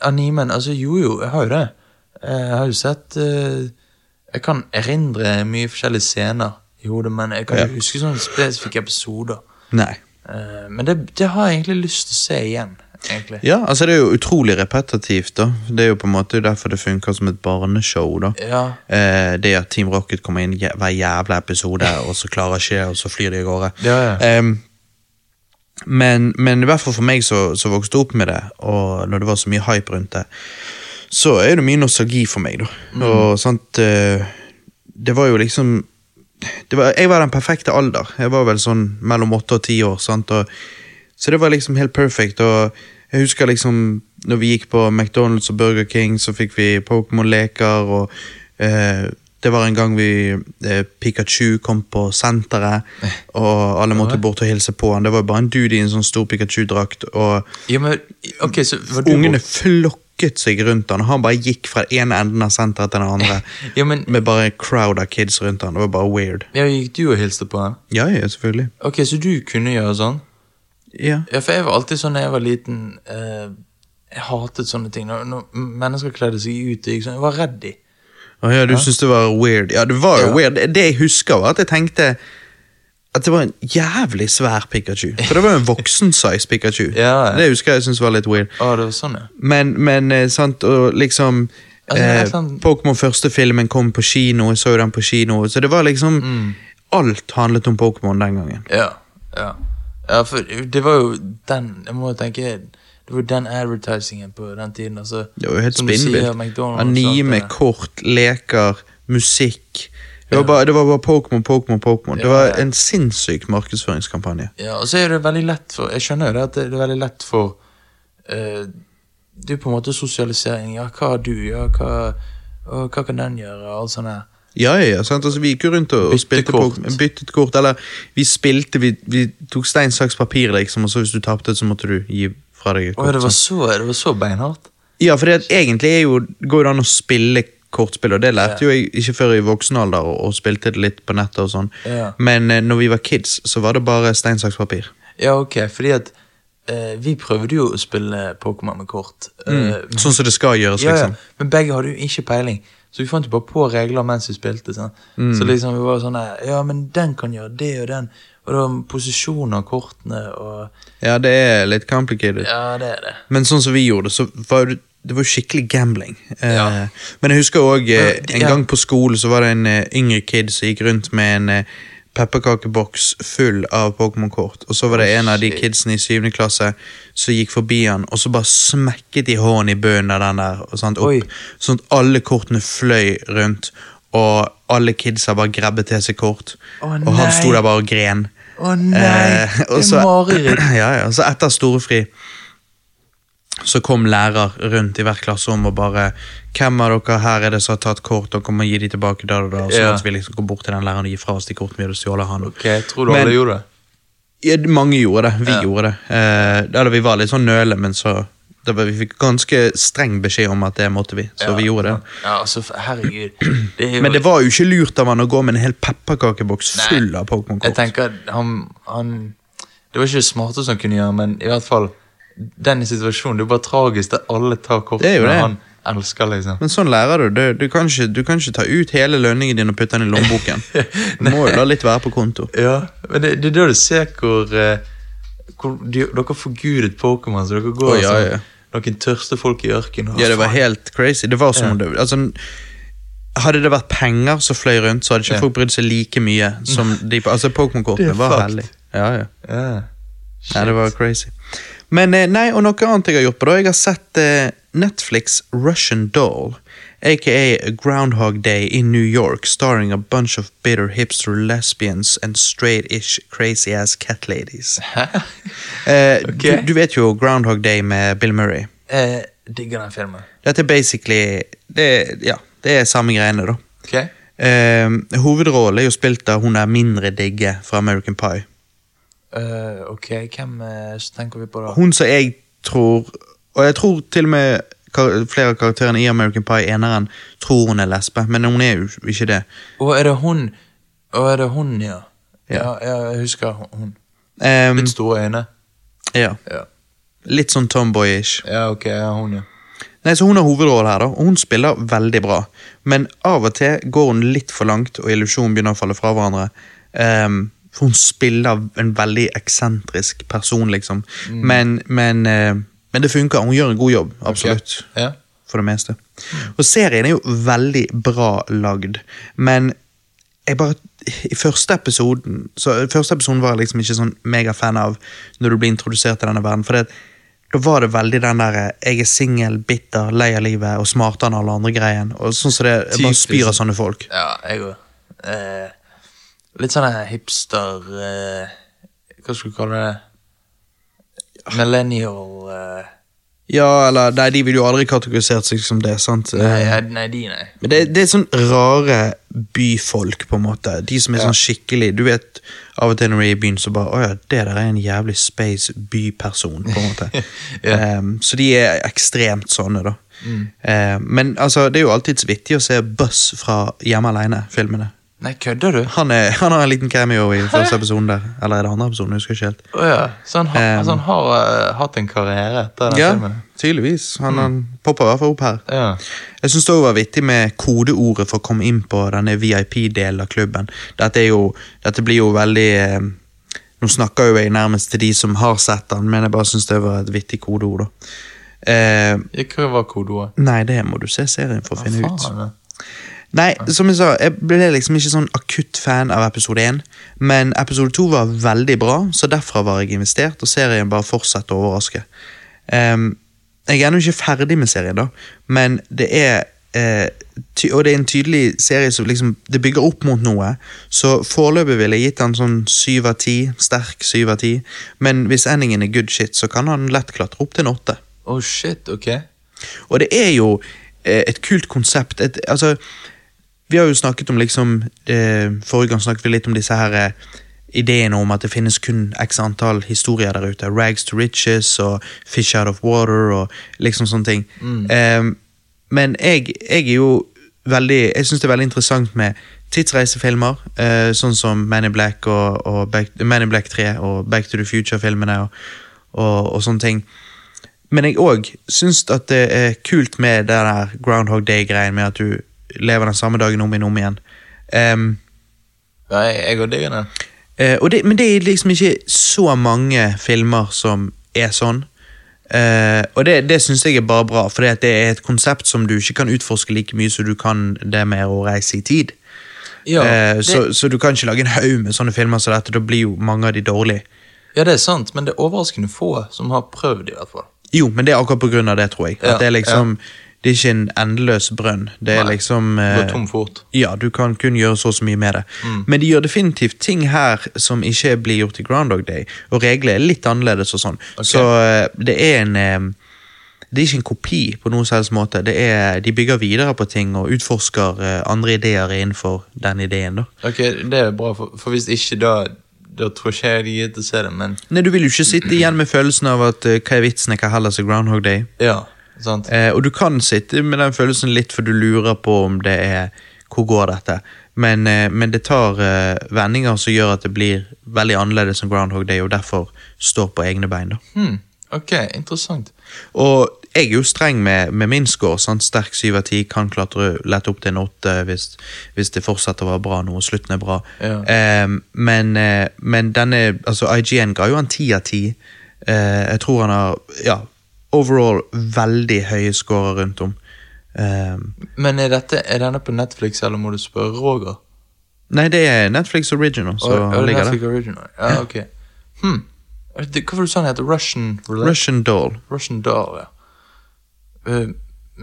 Animen Altså, jo, jo, jeg har jo det. Jeg har jo sett eh, Jeg kan erindre mye forskjellige scener i hodet, men jeg kan ikke huske sånne spesifikke episoder. Nei. Eh, men det, det har jeg egentlig lyst til å se igjen, egentlig. Ja, altså det er jo utrolig repetitivt, da. Det er jo på en måte derfor det funker som et barneshow, da. Ja. Eh, det at Team Rocket kommer inn jæ- hver jævla episode, og så klarer ikke det, og så flyr de av gårde. Ja, ja. Em, men, men i hvert fall for meg som som vokste opp med det, og når det var så mye hype rundt det, så er det mye nostalgi for meg, da. Og sant eh, Det var jo liksom det var, Jeg var den perfekte alder. Jeg var vel sånn mellom åtte og ti år. sant? Og, så det var liksom helt perfect. Og jeg husker liksom når vi gikk på McDonald's og Burger King, så fikk vi Pokémon-leker. og eh, Det var en gang vi eh, Pikachu kom på senteret, og alle måtte bort og hilse på han. Det var jo bare en dude i en sånn stor Pikachu-drakt. og ja, men Ok, så var du Ungene flokket seg rundt han, og han bare gikk fra den ene enden av senteret til den andre. Ja, men Med bare en crowd av kids rundt han. Det var bare weird. ja, Gikk du og hilste på han? Ja, ja, selvfølgelig. Ok, så du kunne gjøre sånn? Ja. Ja, for jeg var alltid sånn da jeg var liten eh, Jeg hatet sånne ting. Når, når mennesker kledde seg ut og gikk sånn, jeg var redd de. Å ja, du syntes det var weird. Ja, det var jo Ja. weird. Det- Det jeg husker, var at jeg tenkte at det var en jævlig svær Pikachu. For det var jo en voksen-size Pikachu. Ja, ja. Det husker jeg syntes var litt weird. Å, det var sånn, ja. Men, men eh, sant, og liksom Altså, det er eh, et eller annet- Pokémon første filmen kom på kino, jeg så jo den på kino, så det var liksom Alt handlet om Pokémon den gangen. Ja, ja. ja, for det var jo den Jeg må jo tenke Det var jo den advertisingen på den tiden. Altså, Det var jo helt som du sier, spinnvilt. McDonald's, Anime, alt det der. kort, leker, musikk. Det var bare, det var bare Pokémon, Pokémon, Pokémon. Det Ja, var ja. en sinnssyk markedsføringskampanje. Ja, og så er det veldig lett for Jeg skjønner jo det at det er veldig lett for eh, Det er på en måte sosialisering. Ja, hva har du? Ja, hva, å, hva kan den gjøre? Og alt sånt der. Ja, ja, ja, sant? Altså, vi gikk jo rundt og, og Bytte spilte kort. Pokémon- byttet kort. Eller vi spilte, vi, vi tok stein, saks, papir, liksom, og så hvis du tapte, så måtte du gi fra deg et Å, ja, kort. det var sant? så, det var så beinhardt. Ja, for det, at egentlig er jo, går det an å spille kortspill, og det lærte jo jeg ikke før i voksen alder, og, og spilte det litt på nettet og sånn. Ja. Men eh, når vi var kids, så var det bare stein, saks, papir. Ja, ok, fordi at eh, vi prøvde jo å spille Pokémon med kort. eh, men- Sånn som det skal gjøres, ja, ja, liksom. men begge hadde jo ikke peiling, så vi fant jo bare på regler mens vi spilte. sant? Så liksom vi var sånn der, Ja, men den kan gjøre det og den. Og det var posisjon av kortene og Ja, det er litt complicated. Ja, det er det. Men sånn som vi gjorde, så var det, det var jo skikkelig gambling. Eh, Ja. Men jeg husker òg eh, Men det- en ja. gang på skolen så var det en eh, yngre kid som gikk rundt med en eh, pepperkakeboks full av Pokémon-kort. Og så var det Å, en av de shit. kidsene i syvende klasse som gikk forbi han, og så bare smekket de hånden i bunnen av den der, og sånt, Oi. opp, sånn at alle kortene fløy rundt, og alle kidsa bare grabbet til seg kort, Å, og han sto nei. der bare og gren. Å nei! Eh, det og er så- mareritt. ja, ja, og så etter storefri så kom lærer rundt i hvert klasserom og bare 'Hvem av dere her er det som har tatt kort? Dere må gi de tilbake da og da.' Og så Ja. måtte vi liksom gå bort til den læreren og gi fra oss de kortene vi hadde stjålet av han. Ok, tror du Men- alle gjorde det? Ja, mange gjorde det. Vi Ja. gjorde det. Eh, eller vi var litt sånn nølende, men så da var, Vi fikk ganske streng beskjed om at det måtte vi, så vi gjorde det. Ja, altså, herregud. Det er jo Men det var jo ikke lurt av han å gå med en hel pepperkakeboks Nei. full av Pokémon-kort. Jeg tenker at han, han Det var ikke det smarteste han kunne gjøre, men i hvert fall den situasjonen. Det er jo bare tragisk at alle tar Det er jo kortene det. han elsker, liksom. Men sånn lærer du. Du, du, kan ikke, du kan ikke ta ut hele lønningen din og putte den i lommeboken. Du må jo la litt være på konto. Ja, men det, det er da du ser hvor, eh, hvor de, Dere forgudet Pokémon, så dere går Å, ja, som ja. noen tørste folk i ørkenen. og sånn. Ja, det var faen, helt crazy. Det var som om det, altså, hadde det vært penger som fløy rundt, så hadde ikke Ja. folk brydd seg like mye som de på Altså, Det Pokémon-kortene er var fucked. hellig. Ja, ja. ja. Ja, det var crazy. Men eh, nei, og noe annet jeg har gjort på da. Jeg har sett eh, Netflix Russian Doll, aka Groundhog Day in New York, starring a bunch of bitter hipster lesbians and straight-ish crazy-ass cat ladies. Eh, Ok. du, du vet jo Groundhog Day med Bill Murray. Eh, digger den filmen. Dette er basically det, Ja, det er samme greiene, da. Ok? Eh, hovedrollen er jo spilt av hun er mindre digge fra American Pie. Eh, ok, hvem eh, så tenker vi på da? hun som jeg tror Og jeg tror til og med kar flere av karakterene i American Pie eneren tror hun er lesbe, men hun er jo ikke det. Og er det hun? Og er det hun, ja? Ja. Ja, ja jeg husker hun- hun. Ehm, Litt store øyne. ja. Ja, Litt sånn tomboyish. ja ok, ja, hun, ja. Nei, så Hun har hovedrollen her, da, og hun spiller veldig bra. Men av og til går hun litt for langt, og illusjonen begynner å falle fra hverandre. Ehm, for hun spiller en veldig eksentrisk person, liksom. Men, men, eh, men det funker. Hun gjør en god jobb, absolutt. Ja. for det meste. Og serien er jo veldig bra lagd, men jeg bare I første episoden så i første episoden var jeg liksom ikke sånn megafan av når du blir introdusert til denne verden. For det, da var det veldig den der eh, 'jeg er singel, bitter, lei av livet og smartere enn alle andre'-greien. Og sånn som det, Jeg bare Typisk. spyr av sånne folk. Ja, jeg òg. Eh, litt sånn her hipster eh, Hva skal du kalle det? Millennial eh, Ja, eller Nei, de ville jo aldri kategorisert seg som det, sant? nei, Eh, ja, nei, de, nei. Men det, det er sånn rare byfolk, på en måte. De som er sånn skikkelig Du vet av og til når du er i byen, så bare Å ja, det der er en jævlig space byperson, på en måte. Ehm, så de er ekstremt sånne, da. Ehm, men altså, det er jo alltids vittig å se Buzz fra Hjemme aleine-filmene. Nei, kødder du? Han, er- han har en liten cameo i første episode der. Eller er det andre episoden? Jeg husker ikke helt. Å ja. Så han, har- Eh, så han har eh, hatt en karriere etter den Ja, filmen? tydeligvis. Han, han popper i hvert fall opp her. Ja. Jeg syns det også var vittig med kodeordet for å komme inn på denne VIP-delen av klubben. Dette, er jo, dette blir jo veldig eh, Nå snakker jo jeg nærmest til de som har sett den, men jeg bare syns det var et vittig kodeord, da. Eh, Ja, Hva var kodeordet? nei, det må du se serien for å finne ut. Faen, ja. Nei, som jeg sa, jeg ble liksom ikke sånn akutt fan av episode 1, men episode 2 var veldig bra, så derfra var jeg investert, og serien bare fortsetter å overraske. Ehm, jeg er ennå ikke ferdig med serien, da, men det er eh, ty Og det er en tydelig serie som liksom Det bygger opp mot noe, så foreløpig ville jeg gitt den sånn syv av ti, sterk syv av ti, men hvis endingen er good shit, så kan han lett klatre opp til en åtte. Oh shit, ok. Og det er jo eh, et kult konsept. Et, altså, vi har jo snakket om liksom eh, Forrige gang snakket vi litt om disse her eh, ideene om at det finnes kun x antall historier der ute. Rags to riches og Fish out of water og liksom sånne ting. Eh, men jeg, jeg er jo veldig Jeg syns det er veldig interessant med tidsreisefilmer, eh, sånn som Man in Black, og, og Back, Man in Black 3 og Back to the Future-filmene og, og, og sånne ting. Men jeg òg syns at det er kult med det der Groundhog Day-greien med at du lever den samme dagen om igjen om igjen. Em, Ja, jeg, jeg går digger den. eh, og det, men det er liksom ikke så mange filmer som er sånn. Eh, og det, det syns jeg er bare bra, for det er et konsept som du ikke kan utforske like mye som du kan det med å reise i tid. Ja, Eh, det, så, så du kan ikke lage en haug med sånne filmer som dette, da blir jo mange av de dårlige. ja, det er sant, men det er overraskende få som har prøvd, i hvert fall. Jo, men det er akkurat på grunn av det, tror jeg. At Ja, det er liksom Det er ikke en endeløs brønn. Det er Nei, liksom Går eh, tom fort. Ja, du kan kun gjøre så og så mye med det. Men de gjør definitivt ting her som ikke blir gjort i Groundhog Day, og reglene er litt annerledes og sånn. Så eh, det er en eh, Det er ikke en kopi på noen som helst måte. Det er, de bygger videre på ting og utforsker eh, andre ideer innenfor den ideen, da. Ok, det er bra, for, for hvis ikke da Da tror ikke jeg de gidder å se det, men Nei, du vil jo ikke sitte igjen med følelsen av at eh, hva er vitsen, hva heller seg Groundhog Day? ja. Sant? Eh, og du kan sitte med den følelsen litt, for du lurer på om det er Hvor går dette? Men, eh, men det tar eh, vendinger som gjør at det blir veldig annerledes enn Groundhog Day, og derfor står på egne bein. da. Hmm, ok, interessant. Og jeg er jo streng med, med min score. Sant? Sterk 7 av 10, kan klatre lett opp til en 8 hvis, hvis det fortsetter å være bra nå, og slutten er bra. Ja. Eh, men, eh, men denne altså IGN ga jo han 10 av 10. Eh, jeg tror han har ja, overall veldig høye scorer rundt om. Eh, Men er, dette, er denne på Netflix, eller må du spørre Roger? nei, det er Netflix Original, så Å, å, ligger det. Netflix Original. Ja, ok. Hmm. Det- Hva var det du sa den heter? Russian Roulette? Russian Doll. Russian Doll, ja. Eh,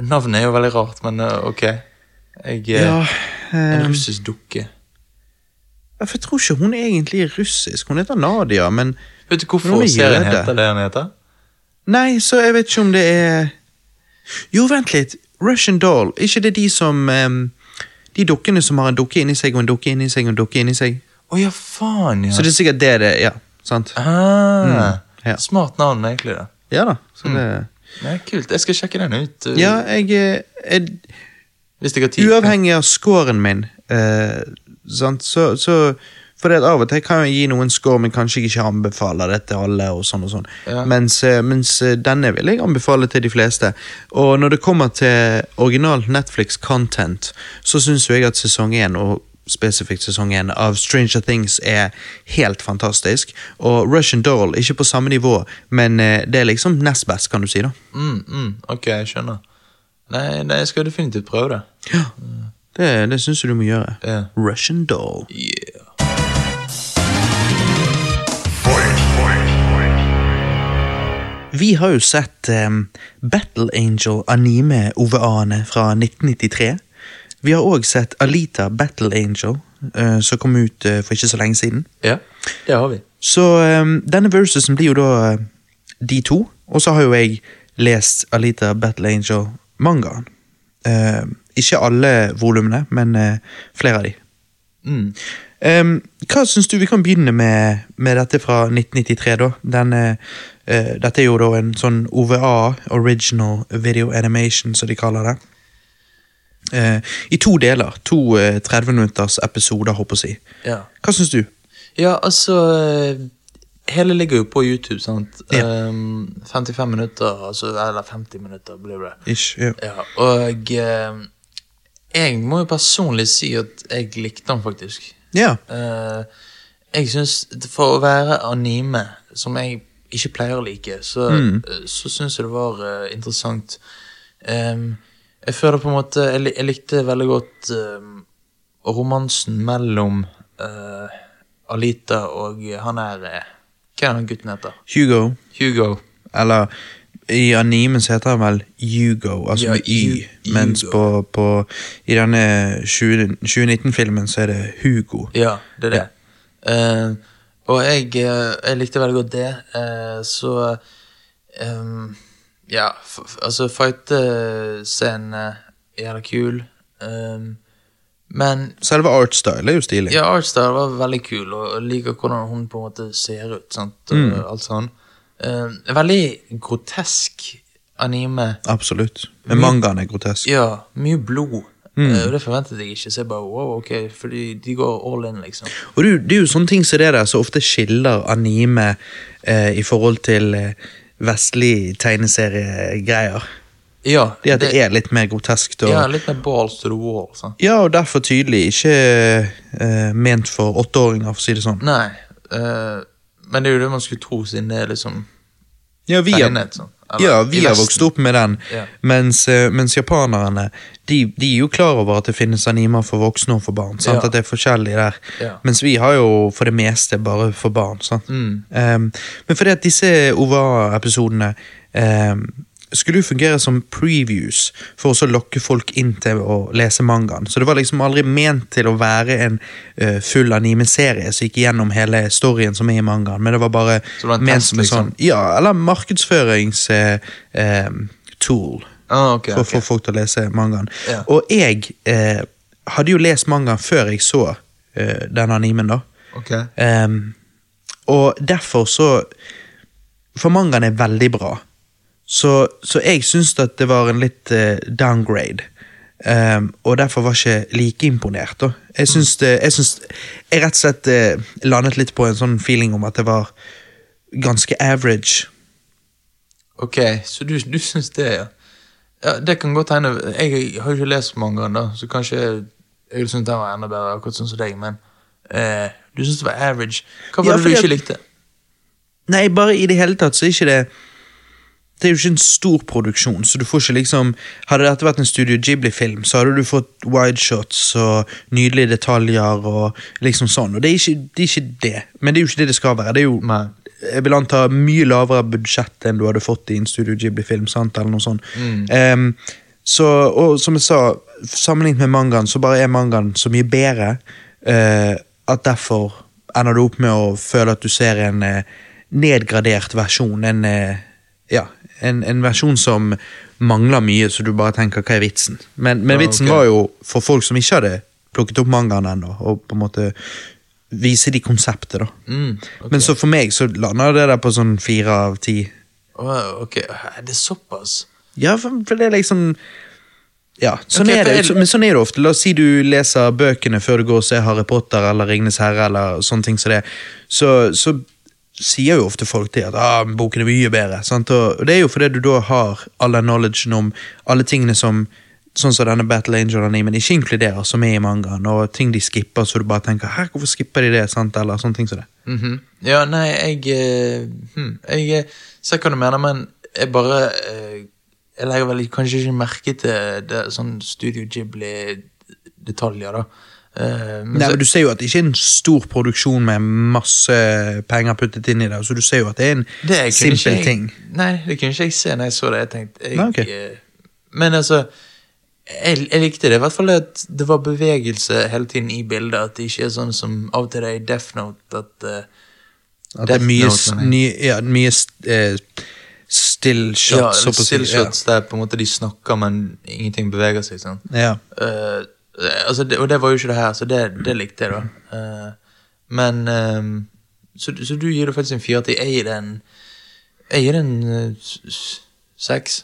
navnet er jo veldig rart, men eh, ok. Jeg eh, Ja, En eh, russisk dukke. for jeg tror ikke hun egentlig er russisk. Hun heter Nadia, men Vet du Hun hvorfor er serien jøde. heter det den heter? Nei, så jeg vet ikke om det er Jo, vent litt. Russian Doll. Er ikke det de som ehm, De dukkene som har en dukke inni seg og en dukke inni seg og en dukke inni seg? Å ja, faen, ja. Så det er sikkert det det Ja, sant? ah, Mm, ja. Smart navn, egentlig. da. Ja da. Så det Nei, kult, jeg skal sjekke den ut. eh, Ja, jeg, eh, jeg hvis jeg har tid. Uavhengig av scoren min, eh, sant, så, så For det at av og til kan jeg gi noen score, men kanskje jeg ikke anbefaler det til alle. og sånn og sånn. Ja. Mens, eh, mens eh, denne vil jeg anbefale til de fleste. Og når det kommer til originalt Netflix-content, så syns jeg at sesong én og spesifikt sesong én av Stranger Things er helt fantastisk. Og Russian Doll, ikke på samme nivå, men eh, det er liksom nest best, kan du si. da. Mm, mm, ok, jeg skjønner. Nei, nei, jeg skal definitivt prøve det. Det, det syns jeg du må gjøre. Ja. Russian Doll. Yeah. Vi har jo sett em, Battle Angel anime-OVA-ene fra 1993. Vi har òg sett Alita Battle Angel, eh, som kom ut eh, for ikke så lenge siden. Ja, det har vi. Så em, denne versusen blir jo da eh, de to. Og så har jo jeg lest Alita Battle Angel-mangaen. Eh, ikke alle volumene, men eh, flere av de. Mm. Ehm, hva syns du Vi kan begynne med, med dette fra 1993, da. Den, eh, eh, dette er jo da en sånn OVA, Original Video Animation, som de kaller det. Eh, I to deler. To eh, 30 minutters episoder, håper jeg å si. Ja. Hva syns du? ja, altså eh, Hele ligger jo på YouTube, sant? Ja. Ehm, 55 minutter, altså, eller 50 minutter blir det. Ish, ja. Ja, og eh, jeg må jo personlig si at jeg likte den faktisk. ja. Eh, jeg syns For å være anime, som jeg ikke pleier å like, så, eh, så syns jeg det var eh, interessant. Em, jeg føler på en måte Jeg, li- jeg likte veldig godt em, romansen mellom eh, Alita og han er eh, Hva er han gutten heter? Hugo. Hugo. Eller i anime så heter han vel Hugo, altså Ja, med Y. Hu- Mens Hugo. på, på, i denne 20 2019-filmen så er det Hugo. Ja, det er det. Eh, og jeg, eh, jeg likte veldig godt det. eh, så ehm, Ja, f f- altså fightescenen eh, er jævla kul. ehm, men Selve artstyle er jo stilig. ja, Artstyle var veldig kul, og jeg liker hvordan hun på en måte ser ut. sant? Og Mm. alt sånn. Ehm, veldig grotesk anime. Absolutt. Men mangaen er grotesk. Ja, mye blod. Mm. Eh, og det forventet jeg ikke, så jeg bare wow, ok, fordi de går all in, liksom. Og du, Det er jo sånne ting som det der som ofte skiller anime eh, i forhold til eh, vestlig tegneseriegreier. Ja, Det at det er litt mer groteskt. Og, Ja, ja. litt mer balls to the wall. Sant? og derfor tydelig ikke eh, ment for åtteåringer, for å si det sånn. Nei, eh, men det er jo det man skulle tro, siden det er liksom Ja, vi har, tegnet. Sånn. ja, vi har vokst opp med den, Ja. mens, eh, mens japanerne de, de er jo klar over at det finnes animer for voksne og for barn. Sant? Ja. At det er forskjellig der. Ja. Mens vi har jo for det meste bare for barn. Sant? Mm. Um, men fordi at disse OVA-episodene um, skulle jo fungere som previews for å så lokke folk inn til å lese mangaen. Så det var liksom aldri ment til å være en uh, full anime-serie som gikk gjennom hele storyen som er i mangaen, men det var bare Så det var en ment test, som en liksom? sånn Ja, eller markedsførings-tool Ah, ok, for å ok. få folk til å lese mangaen. Ja. Og jeg eh, hadde jo lest mangaen før jeg så eh, den animen, da. ok. Ehm, og derfor så For mangaen er veldig bra. Så, så jeg syns at det var en litt eh, downgrade. Ehm, og derfor var jeg ikke like imponert. Da. Jeg syns det Jeg, syns, jeg rett og slett eh, landet litt på en sånn feeling om at det var ganske average. Ok, så du, du syns det, ja. ja. Det kan godt hende. Jeg har jo ikke lest mangaen, da, så kanskje jeg syns den var enda bedre, akkurat sånn som deg, men eh, du syns det var average. Hva Ja, var det fordi du ikke at- likte? Nei, bare i det hele tatt så er ikke det Det er jo ikke en stor produksjon, så du får ikke liksom Hadde dette vært en Studio Ghibli-film, så hadde du fått wideshots og nydelige detaljer og liksom sånn, og det er ikke det. Er ikke det. Men det er jo ikke det det skal være. Det er jo Nei. jeg vil anta mye lavere budsjett enn du hadde fått i en Studio Ghibli-film. sant, eller noe sånt. Mm. Ehm, så, og som jeg sa, sammenlignet med mangaen, så bare er mangaen så mye bedre eh, at derfor ender du opp med å føle at du ser en eh, nedgradert versjon. En, eh, ja, en, en versjon som mangler mye, så du bare tenker 'hva er vitsen'? Men, men Ja, vitsen ok. var jo for folk som ikke hadde plukket opp mangaen ennå, og på en måte vise de konseptet, da. Mm, ok. Men så for meg så lander det der på sånn fire av ti. Åh, ok, er det såpass? Ja, for, for det er liksom Ja, sånn Ok, er det. for jeg- Men sånn er det ofte. La oss si du leser bøkene før du går og ser Harry Potter eller Ringenes herre eller sånne ting som det, så, så sier jo ofte folk det at ah, men boken er mye bedre. Sant? Og det er jo fordi du da har alle knowledgen om alle tingene som Sånn som denne Battle Angel-animen ikke inkluderer, som er i mangaen, og ting de skipper, så du bare tenker 'hæ, hvorfor skipper de det?' sant, eller sånne ting som det. Mhm. Ja, nei, jeg eh, hm, Jeg eh, ser hva du mener, men jeg bare eh, Jeg legger vel kanskje ikke merke til det, sånn Studio Ghibli-detaljer, da. Eh, men Nei, så, men Du ser jo at det ikke er en stor produksjon med masse penger puttet inn i det. Så du ser jo at det er en det kunne ikke simpel jeg, ting. Nei, det kunne ikke jeg se når jeg så det. Jeg tenkte jeg, Nei, ok. eh, Men altså jeg, jeg likte det, i hvert fall at det var bevegelse hele tiden i bildet. At det ikke er sånn som av og til det er i Death Note. At eh, At det er mye, Death s- Note, mener jeg. ny, ja, mye st- eh, still ja, shots. så på å si, still shots der på en måte de snakker, men ingenting beveger seg. sånn Ja. Ja. Eh, altså det, og det var jo ikke det her, så det, det likte jeg, da. Eh, men ehm, så, du- så du gir det faktisk en fire til. Jeg gir det en Jeg gir det en eh, s- s- seks.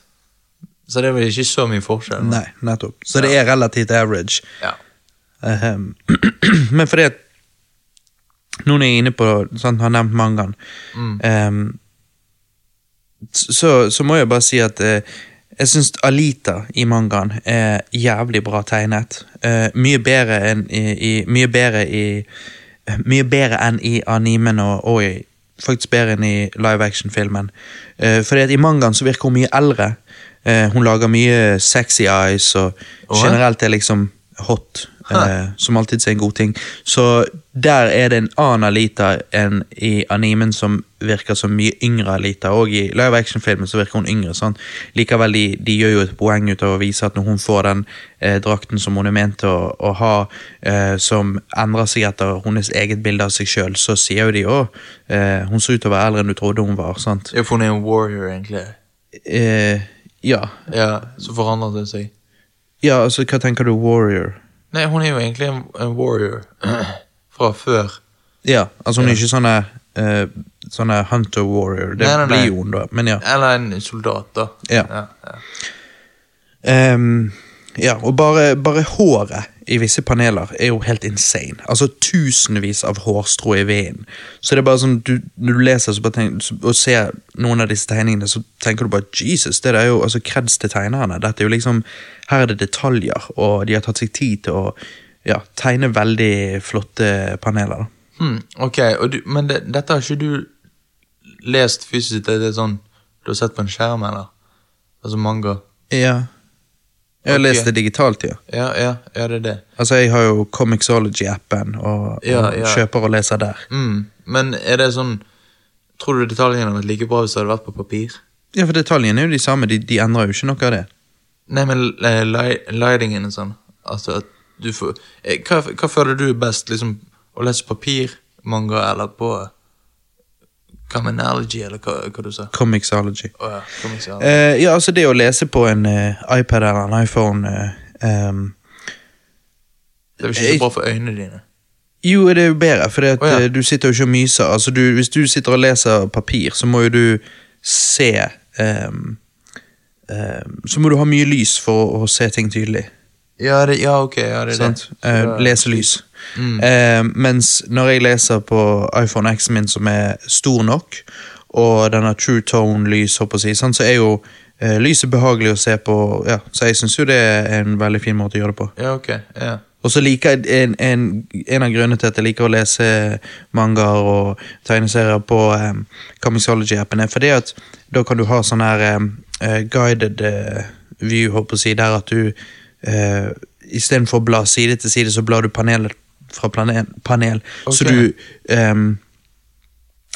Så det var ikke så mye forskjell. Nei, nettopp. Så det er relativt average. Ja. Ahem. Ehm, Men fordi at Nå når jeg er inne på sant, Har nevnt mangaen ehm, s- så, så må jeg bare si at eh, Jeg syns Alita i mangaen er jævlig bra tegnet. Eh, mye bedre enn i, i Mye bedre i eh, Mye bedre enn i animen og, og i, faktisk bedre enn i live action-filmen. Uh, fordi at i mangaen så virker hun mye eldre. Eh, hun lager mye sexy eyes og Åh? generelt er liksom hot. eh, som alltid er en god ting. Så der er det en annen Alita enn i animen som virker som mye yngre Alita. Og i live action-filmen så virker hun yngre. sant? Likevel, de, de gjør jo et poeng ut av å vise at når hun får den eh, drakten som hun er ment å, å ha, eh, som endrer seg etter hennes eget bilde av seg sjøl, så sier jo de å, eh, hun ser ut til å være eldre enn du trodde hun var. sant? Ja, for hun er en warrior, egentlig. Eh, ja. Ja, Så forandret det seg. ja, altså hva tenker du, warrior? Nei, hun er jo egentlig en, en warrior fra før. Ja, altså hun er ikke sånne, eh, sånne Hunter Warrior. Det Nei, nei, nei. blir jo hun, da. Men ja. Eller en soldat, da. Ja. Ja, ja. Ehm, ja, og bare, bare håret i visse paneler er jo helt insane. Altså tusenvis av hårstrå i veden. Så det er bare sånn, du, når du leser så bare tenk, så- og ser noen av disse tegningene, så tenker du bare Jesus, det der er jo altså kreds til tegnerne. Dette er jo liksom, Her er det detaljer, og de har tatt seg tid til å ja, tegne veldig flotte paneler. da. Hmm, ok, og du, men det, dette har ikke du lest fysisk? Det er sånn du har sett på en skjerm, eller? Altså manga? Ja. Jeg har Ok. lest det digitalt, ja. Ja, ja, ja det er det. Altså, jeg har jo Comixology-appen, og, Ja, og ja. kjøper og leser der. Mm. Men er det sånn Tror du detaljene hadde vært like bra hvis det hadde vært på papir? Ja, for detaljene er jo de samme, de, de endrer jo ikke noe av det. Nei, men eh, li- lightingen og sånn. Altså at du får eh, Hva, hva føler du er best? Liksom å lese papirmanga eller på Commonality, eller hva, hva du sa? Comixology. Å ja, Comixology. Eh, ja, altså det å lese på en eh, iPad eller en iPhone eh, ehm, Det er vel ikke så bra for øynene dine? Jo, det er jo bedre, for Å, ja. du sitter jo ikke og myser. Altså, du, hvis du sitter og leser papir, så må jo du se ehm, ehm, Så må du ha mye lys for å, å se ting tydelig. Ja, det, ja ok, ja, det er sant? det. Så Eh, da- leselys. Mm. Eh, mens når jeg leser på iPhone X-en min, som er stor nok, og den har true tone-lys, håper jeg å si, sant, så er jo eh, lyset behagelig å se på. Ja, så jeg syns jo det er en veldig fin måte å gjøre det på. Ja, ok. Ja. Og så liker jeg en, en, en av grunnene til at jeg liker å lese mangaer og tegneserier på um, Comixology-appen, er fordi at da kan du ha sånn her em, eh, guided eh, view, håper jeg å si, der at du uh, istedenfor å bla side til side, så blar du panelet fra plane- panel, Ok. så du em,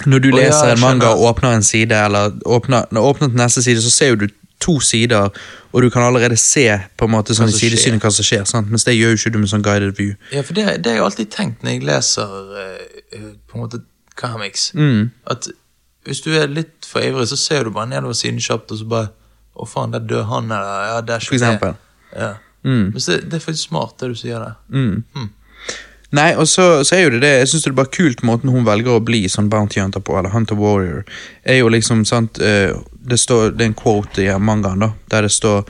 Når du Å, ja, leser jeg en manga skjønner. og åpner en side, eller åpner, når du åpner den neste side, så ser jo du to sider, og du kan allerede se på en måte sånn i som skjer. sidesynet hva som skjer, sant? mens det gjør jo ikke du med sånn guided view. Ja, for det, det har jeg alltid tenkt når jeg leser eh, eh, på en måte comics. Mm. At hvis du er litt for ivrig, så ser du bare nedover siden kjapt, og så bare Å, faen, der dør han, eller ja, der For eksempel. Mm. Ja. Men så, det er faktisk smart, det du sier der. Nei, og så, så er jo det det, jeg synes det er bare kult måten hun velger å bli sånn bounty hunter på, eller hunter warrior, er jo liksom, sant, eh, det står, det er en quote i mangaen da, der det står,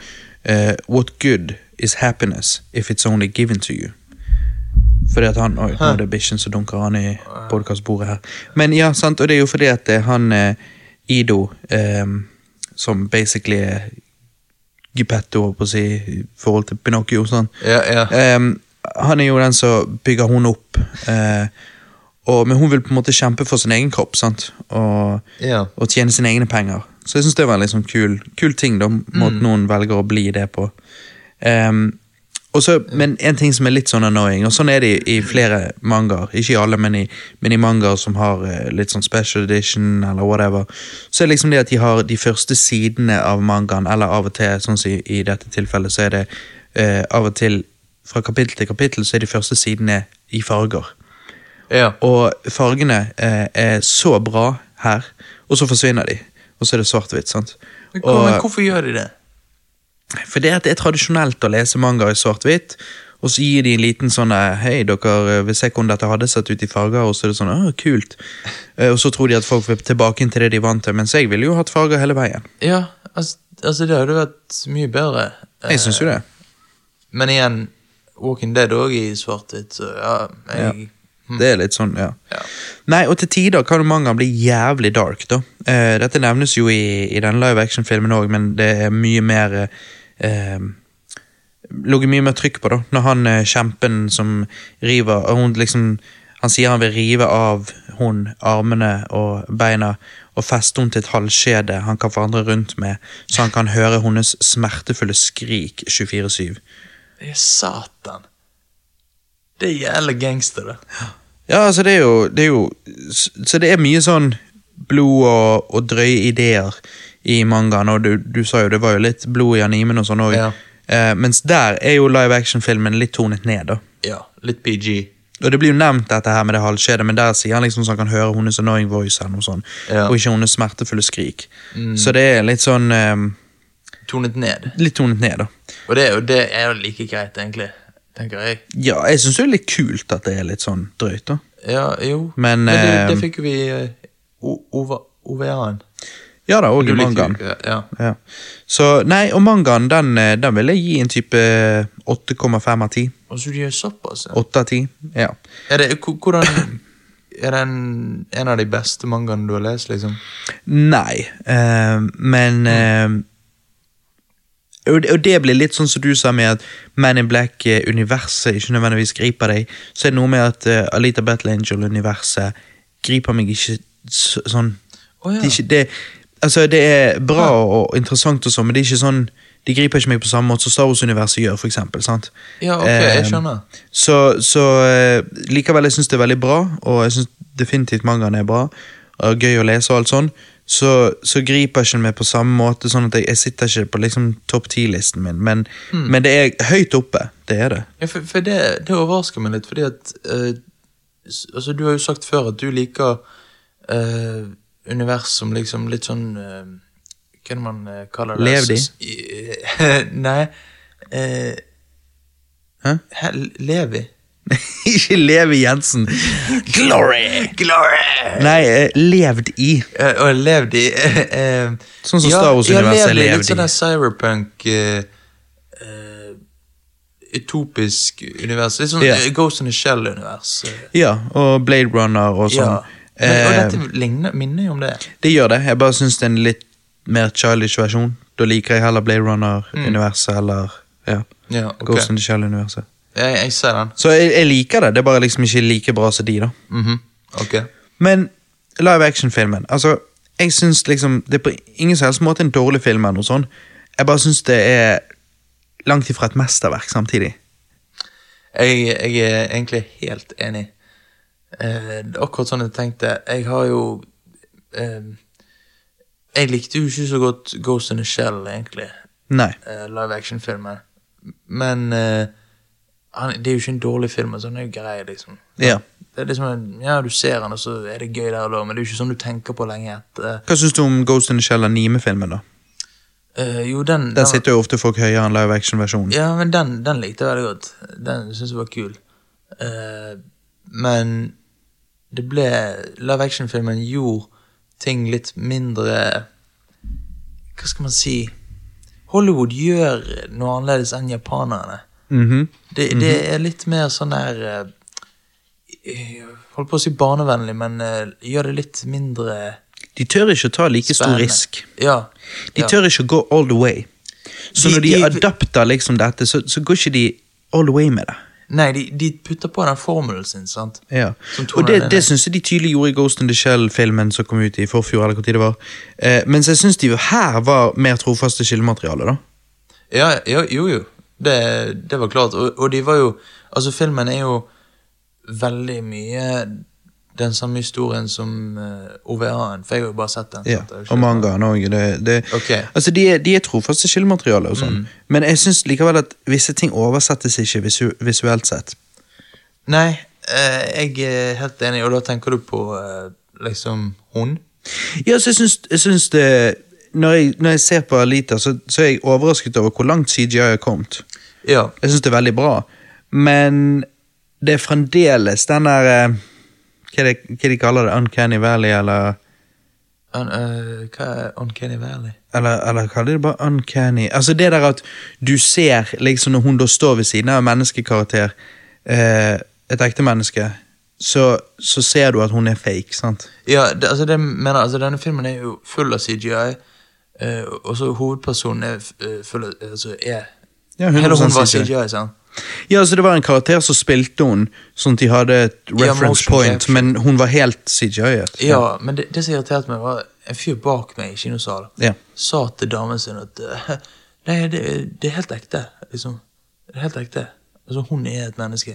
eh, what good is happiness if it's only given to you? Fordi at han, oi, nå er det bikkjen som dunker han i podcastbordet her. Men ja, sant, og det er jo fordi at det er han, eh, Ido, eh, som basically er Geppetto, holdt på å si, i forhold til Pinocchio, sånn. Ja, ja. Ehm, han er jo den som bygger hun opp. eh, og, men hun vil på en måte kjempe for sin egen kropp sant? Og, Ja. og tjene sine egne penger. Så jeg syns det var en liksom kul, kul ting, da, måten noen velger å bli det på. Ehm, og så- men en ting som er litt sånn annoying, og sånn er det i, i flere mangaer, ikke i alle, men i, men i mangaer som har eh, litt sånn special edition eller whatever, så er det liksom det at de har de første sidene av mangaen, eller av og til, sånn som i, i dette tilfellet, så er det eh, av og til fra kapittel til kapittel, så er de første sidene i farger. ja. Og fargene eh, er så bra her, og så forsvinner de. Og så er det svart-hvitt. sant? Men, hvor- men Og, eh, hvorfor gjør de det? for det at det er tradisjonelt å lese manga i svart-hvitt, og så gir de en liten sånn eh, Hei, dere eh, vil se hvordan dette hadde sett ut i farger, og så er det sånn Å, kult. Eh, Og så tror de at folk vil tilbake inn til det de er vant til, mens jeg ville jo hatt farger hele veien. Ja, altså, altså det hadde vært mye bedre. Eh, Jeg synes jo det. Men igjen, Walking Dead òg i svart-hvitt, så ja, jeg, Det er litt sånn, ja. Ja. Nei, og til tider kan jo mangaen bli jævlig dark, da. Eh, dette nevnes jo i, i den live action-filmen òg, men det er mye mer eh, eh, Ligger mye mer trykk på, da. Når han eh, kjempen som river og hun liksom, Han sier han vil rive av hun armene og beina og feste henne til et halvskjede han kan forandre rundt med, så han kan høre hennes smertefulle skrik 24-7. ja. Satan. Det er jævla gangster, det. Ja, altså det er jo, det er jo s- Så det er mye sånn blod og, og drøye ideer i mangaen, og du, du sa jo det var jo litt blod i animen og sånn òg. Ja. Eh, mens der er jo live action-filmen litt tonet ned, da. Ja, litt PG. Og det blir jo nevnt dette her med det halvskjedet, men der sier han liksom så han kan høre hennes annoying voice eller noe sånt, Ja. Mm. og ikke hennes smertefulle skrik. Så det er litt sånn eh, Tonet ned. Litt tonet ned, da. Og det, er jo- det er jo like greit, egentlig. Tenker jeg. Ja, jeg syns det er litt kult at det er litt sånn drøyt, da. Ja, jo. Men, det, det eh, fikk jo vi eh, O- Ova- OVA-en. Ja da, og i Du likte jo mangaen. ikke- Ja. Ja. Så, nei, og mangaen, den, eh, den vil jeg gi en type eh, 8,5 av 10. Og så du gjør såpass, ja. 8 av 10, ja. Er det, hvor- hvordan Er det en, en av de beste mangaene du har lest, liksom? Nei, eh, men eh, og, det- og det blir litt sånn som du sa med at Man in Black-universet ikke nødvendigvis griper deg. Så er det noe med at eh, Alita Battle Angel-universet griper meg ikke s sånn Å, ja. det, er ikke, det, altså, det er bra og interessant og sånn, men det er ikke sånn de griper ikke meg på samme måte som Star Wars-universet gjør. For eksempel, sant? Ja, ok, jeg Eh, skjønner. Så, så eh, likevel, jeg syns det er veldig bra, og jeg syns definitivt mangaen er bra. Og gøy å lese og alt sånn. Så, så griper ikke den meg på samme måte, sånn at jeg, jeg sitter ikke på liksom topp ti-listen min. Men, Hmm. men det er høyt oppe. Det er det. Ja, for, for det, det overrasker meg litt, fordi at eh, s- Altså, du har jo sagt før at du liker eh, univers som liksom litt sånn eh, Hva er det man eh, kaller det? Lev de? S- i- Nei eh, Hæ? hæ, Levi? ikke Levi Jensen! Glory! Glory! Nei, eh, levd i. Eh, Og levd i eh, Sånn som ja, Star Wars-universet ja, levd i, levd Litt sånn i. der cyberpunk eh, eh, Utopisk univers. Litt sånn Ja. eh, Ghost in the Shell-univers. eh. Ja, og Blade Runner og Ja. sånn. Men, og Eh, dette ligner, minner jo om det. Det gjør det. Jeg bare syns det er en litt mer childish versjon. Da liker jeg heller Blade Runner-universet eller ja, Hmm. Ja, ok. Ghost in the Shell-universet. Jeg, jeg ser den. Så jeg, jeg liker det. Det er bare liksom ikke like bra som de, da. Mhm. Ok. Men live action-filmen Altså, jeg syns liksom Det er på ingen som helst måte en dårlig film eller noe sånt. Jeg bare syns det er langt ifra et mesterverk samtidig. Jeg, jeg er egentlig helt enig. Eh, det er akkurat sånn jeg tenkte. Jeg har jo ehm, Jeg likte jo ikke så godt Ghost in the Shell, egentlig. Nei. eh, live action-filmen. Men eh, han, det er jo ikke en dårlig film. Altså, han er jo grei, liksom. Ja. Det er liksom, en- ja, Du ser han, og så er det gøy der og da, men det er jo ikke sånn du tenker på lenge etter. Hva syns du om Ghost in the Shell anime-filmen, da? Eh, jo, den, Der sitter jo ofte folk høyere enn live action-versjonen. Ja, men den, den likte jeg veldig godt. Den syntes jeg var kul. Eh, men det ble Live action-filmen gjorde ting litt mindre Hva skal man si? Hollywood gjør noe annerledes enn japanerne. Mhm. Det, det er litt mer sånn der eh, Holdt på å si barnevennlig, men eh, gjør det litt mindre De tør ikke å ta like stor spennende. risk. Ja. De ja. tør ikke å gå all the way. Så De- når de, de- adapter liksom dette, så, så går ikke de all the way med det. Nei, de, de putter på den formelen sin, sant? Ja. Som toner Og det, det ned. det syns jeg de tydelig gjorde i Ghost in the Shell-filmen som kom ut i forfjor. eller hvor tid det var. Eh, mens jeg syns de her var mer trofaste kildemateriale. da. Ja, jo, jo. jo. Det, det var klart. Og, og de var jo Altså, filmen er jo veldig mye den samme historien som eh, OVA-en, for jeg har jo bare sett den. Ja. sant? Jeg har jo Og ikke- mangaen òg. Det, det, Ok. Mm. altså, de, er- de er trofaste kildemateriale og sånn. Men jeg syns likevel at visse ting oversettes ikke visu, visuelt sett. Nei, eh, jeg er helt enig, og da tenker du på eh, liksom hun? Ja, så jeg syns, jeg syns det når jeg, når jeg ser på Alita, så, så er jeg overrasket over hvor langt CGI har kommet. Ja. Jeg syns det er veldig bra, men det er fremdeles den der eh, Hva er det hva de kaller det? Uncanny Valley, eller Un, eh, hva er Uncanny Valley? eller, eller kaller de det bare uncanny? Altså det der at du ser, liksom når hun da står ved siden av en menneskekarakter, eh, et ekte menneske, så, så ser du at hun er fake, sant? Ja, det, altså det mener altså denne filmen er jo full av CGI, eh, og så hovedpersonen er f- eh, full av altså er, Ja, Eller hun 100% var CGI. CGI, sant? Ja, altså det var en karakter som spilte hun, sånn at de hadde et reference motion point, capture. men hun var helt CGI-et. Ja, men det, det som irriterte meg, var en fyr bak meg i kinosalen Ja. sa til damen sin at eh, Nei, det, det er helt ekte, liksom. Det er helt ekte. Altså, hun er et menneske.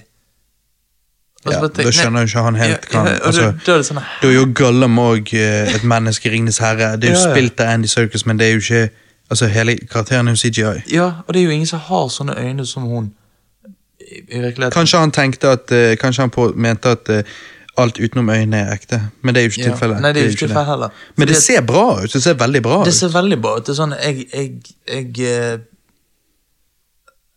Og så Ja, bare da tenk- nei, skjønner jo ikke han helt hva han- ja, ja, og altså, da, da er det sånn Da er jo Gollum òg et menneske i Ringenes herre. Det er jo Ja, ja. spilt av Andy Circus, men det er jo ikke Altså, hele karakteren er jo CGI. Ja, og det er jo ingen som har sånne øyne som hun. I, i virkeligheten. Kanskje han tenkte at eh, Kanskje han på, mente at eh, alt utenom øynene er ekte, men det er jo ikke Ja. tilfellet. Nei, det er jo ikke det. tilfellet heller. Men det Fordi at- ser bra ut. Det ser veldig bra ut. Det ser veldig bra ut. Det er sånn Jeg, jeg, jeg eh,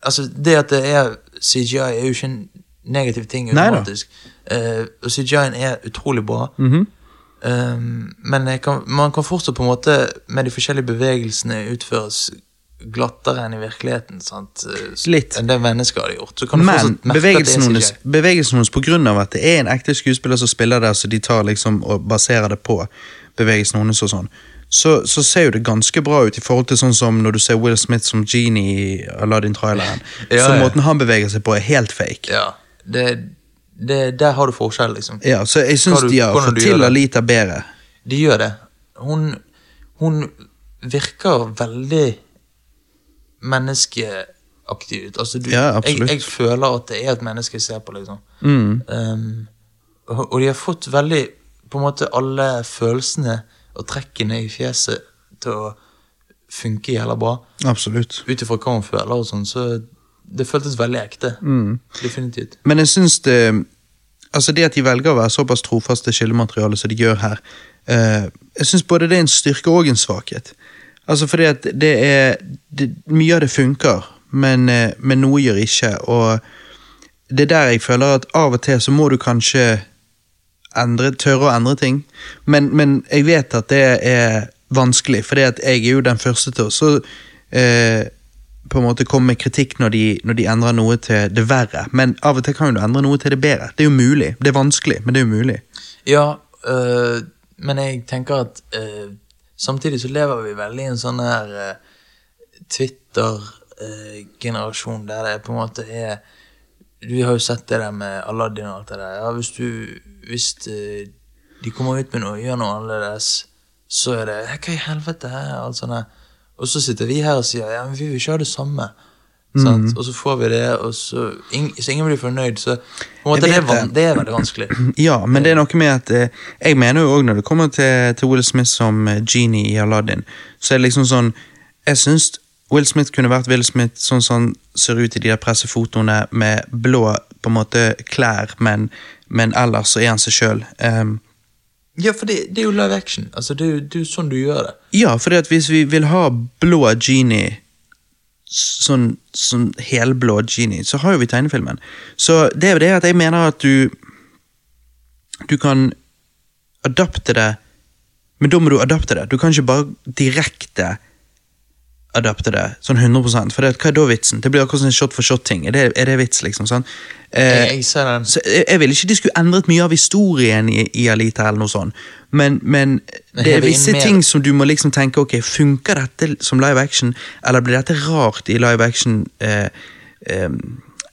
Altså, det at det er CGI, er jo ikke en negativ ting da. automatisk. Eh, Og CGI-en er utrolig bra. Mhm. Um, men jeg kan, man kan fortsatt på en måte, med de forskjellige bevegelsene, utføres glattere enn i virkeligheten. sant? Eh, s- Litt. Enn det mennesker hadde gjort. Så kan du Men fortsatt merke bevegelsen at det er hennes, CGI. bevegelsen hennes på grunn av at det er en ekte skuespiller som spiller der, så de tar liksom og baserer det på bevegelsen hennes og sånn, så, så ser jo det ganske bra ut i forhold til sånn som når du ser Will Smith som genie i Aladdin-traileren. Ja, så ja. måten han beveger seg på, er helt fake. Ja, det, det, Der har du forskjell, liksom. Ja, så jeg syns Hva du- de har hvordan fått du gjør til det. Alita bedre. De gjør det. Hun, hun virker veldig menneskeaktig ut. Altså, du, Ja, absolutt. Mm. jeg, jeg føler at det er et menneske jeg ser på, liksom. Um, og, og de har fått veldig på en måte alle følelsene og trekkene i fjeset til å funke jævla bra. Absolutt. Ut ifra hva hun føler og sånn, så det føltes veldig ekte. Mm. Definitivt. Men jeg syns det Altså det at de velger å være såpass trofaste kildemateriale som de gjør her, eh, jeg syns både det er en styrke og en svakhet. Altså fordi at det er det, Mye av det funker, men, eh, men noe gjør ikke, og det er der jeg føler at av og til så må du kanskje endre, tørre å endre ting, men, men jeg vet at det er vanskelig, fordi at jeg er jo den første til å så eh, på en måte komme med kritikk når de, når de endrer noe til det verre, men av og til kan jo du endre noe til det bedre. Det er jo mulig. Det er vanskelig, men det er jo mulig. Ja, øh, men jeg tenker at øh, samtidig så lever vi veldig i en sånn her Twitter-generasjon eh, der det på en måte er Vi har jo sett det der med Aladdin og alt det der. Ja, hvis du Hvis øh, de kommer ut med noe, gjør noe annerledes, så er det «Hæ, Hva i helvete er alt sånt her? Og så sitter vi her og sier ja, men vi vil ikke ha det samme. Mhm. Sant? Og så får vi det, og så, ing, så ingen blir fornøyd. Så på en måte, Jeg det, er vet van, det er veldig vanskelig. Ja, men det er noe med at eh, Jeg mener jo òg når det kommer til, til Will Smith som eh, genie i Aladdin, så er det liksom sånn Jeg syns Will Smith kunne vært Will Smith sånn som han ser ut i de der pressefotoene med blå på en måte klær, men, men ellers så er han seg Ehm, sjøl. Ja, for det, det er jo live action. Altså, det, er jo, det er jo sånn du gjør det. ja, fordi at hvis vi vil ha blå genie Sånn, sånn helblå genie, så har jo vi tegnefilmen. Så det er jo det at jeg mener at du Du kan adapte det, men da må du adapte det. Du kan ikke bare direkte adapte det, sånn 100 for det, at hva er da vitsen? Det blir akkurat sånn shot for shot-ting. Er, det- er det vits, liksom? sånn? Eh, Jeg, jeg ser den. så jeg, jeg vil ikke de skulle endret mye av historien i, i Alita, eller noe sånt. Men, men det hever er inn visse mer- ting som du må liksom tenke ok, funker dette som live action, eller blir dette rart i live action-greien? Eh,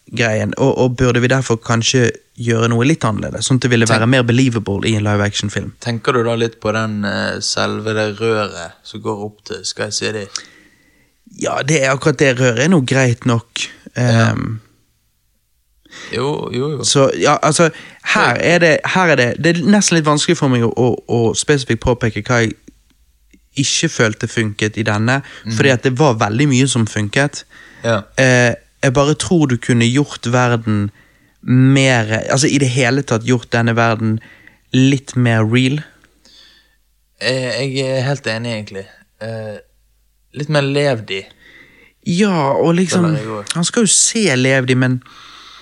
greien? og, og burde vi derfor kanskje gjøre noe litt annerledes? Sånn at det ville være mer believable i en live action-film. Tenker du da litt på den eh, selve det røret som går opp til Sky City? Ja, det er akkurat det røret er nå greit nok. Ehm, Jo, jo, jo. Så ja, altså her er, det, her er det Det er nesten litt vanskelig for meg å, å, å spesifikt påpeke hva jeg ikke følte funket i denne, Mhm. fordi at det var veldig mye som funket. Ja. Eh, jeg bare tror du kunne gjort verden mer Altså i det hele tatt gjort denne verden litt mer real. Jeg, Eh, jeg er helt enig, egentlig. Eh, litt mer levd i. Ja, og liksom Føler jeg også. Han skal jo se Levdi, men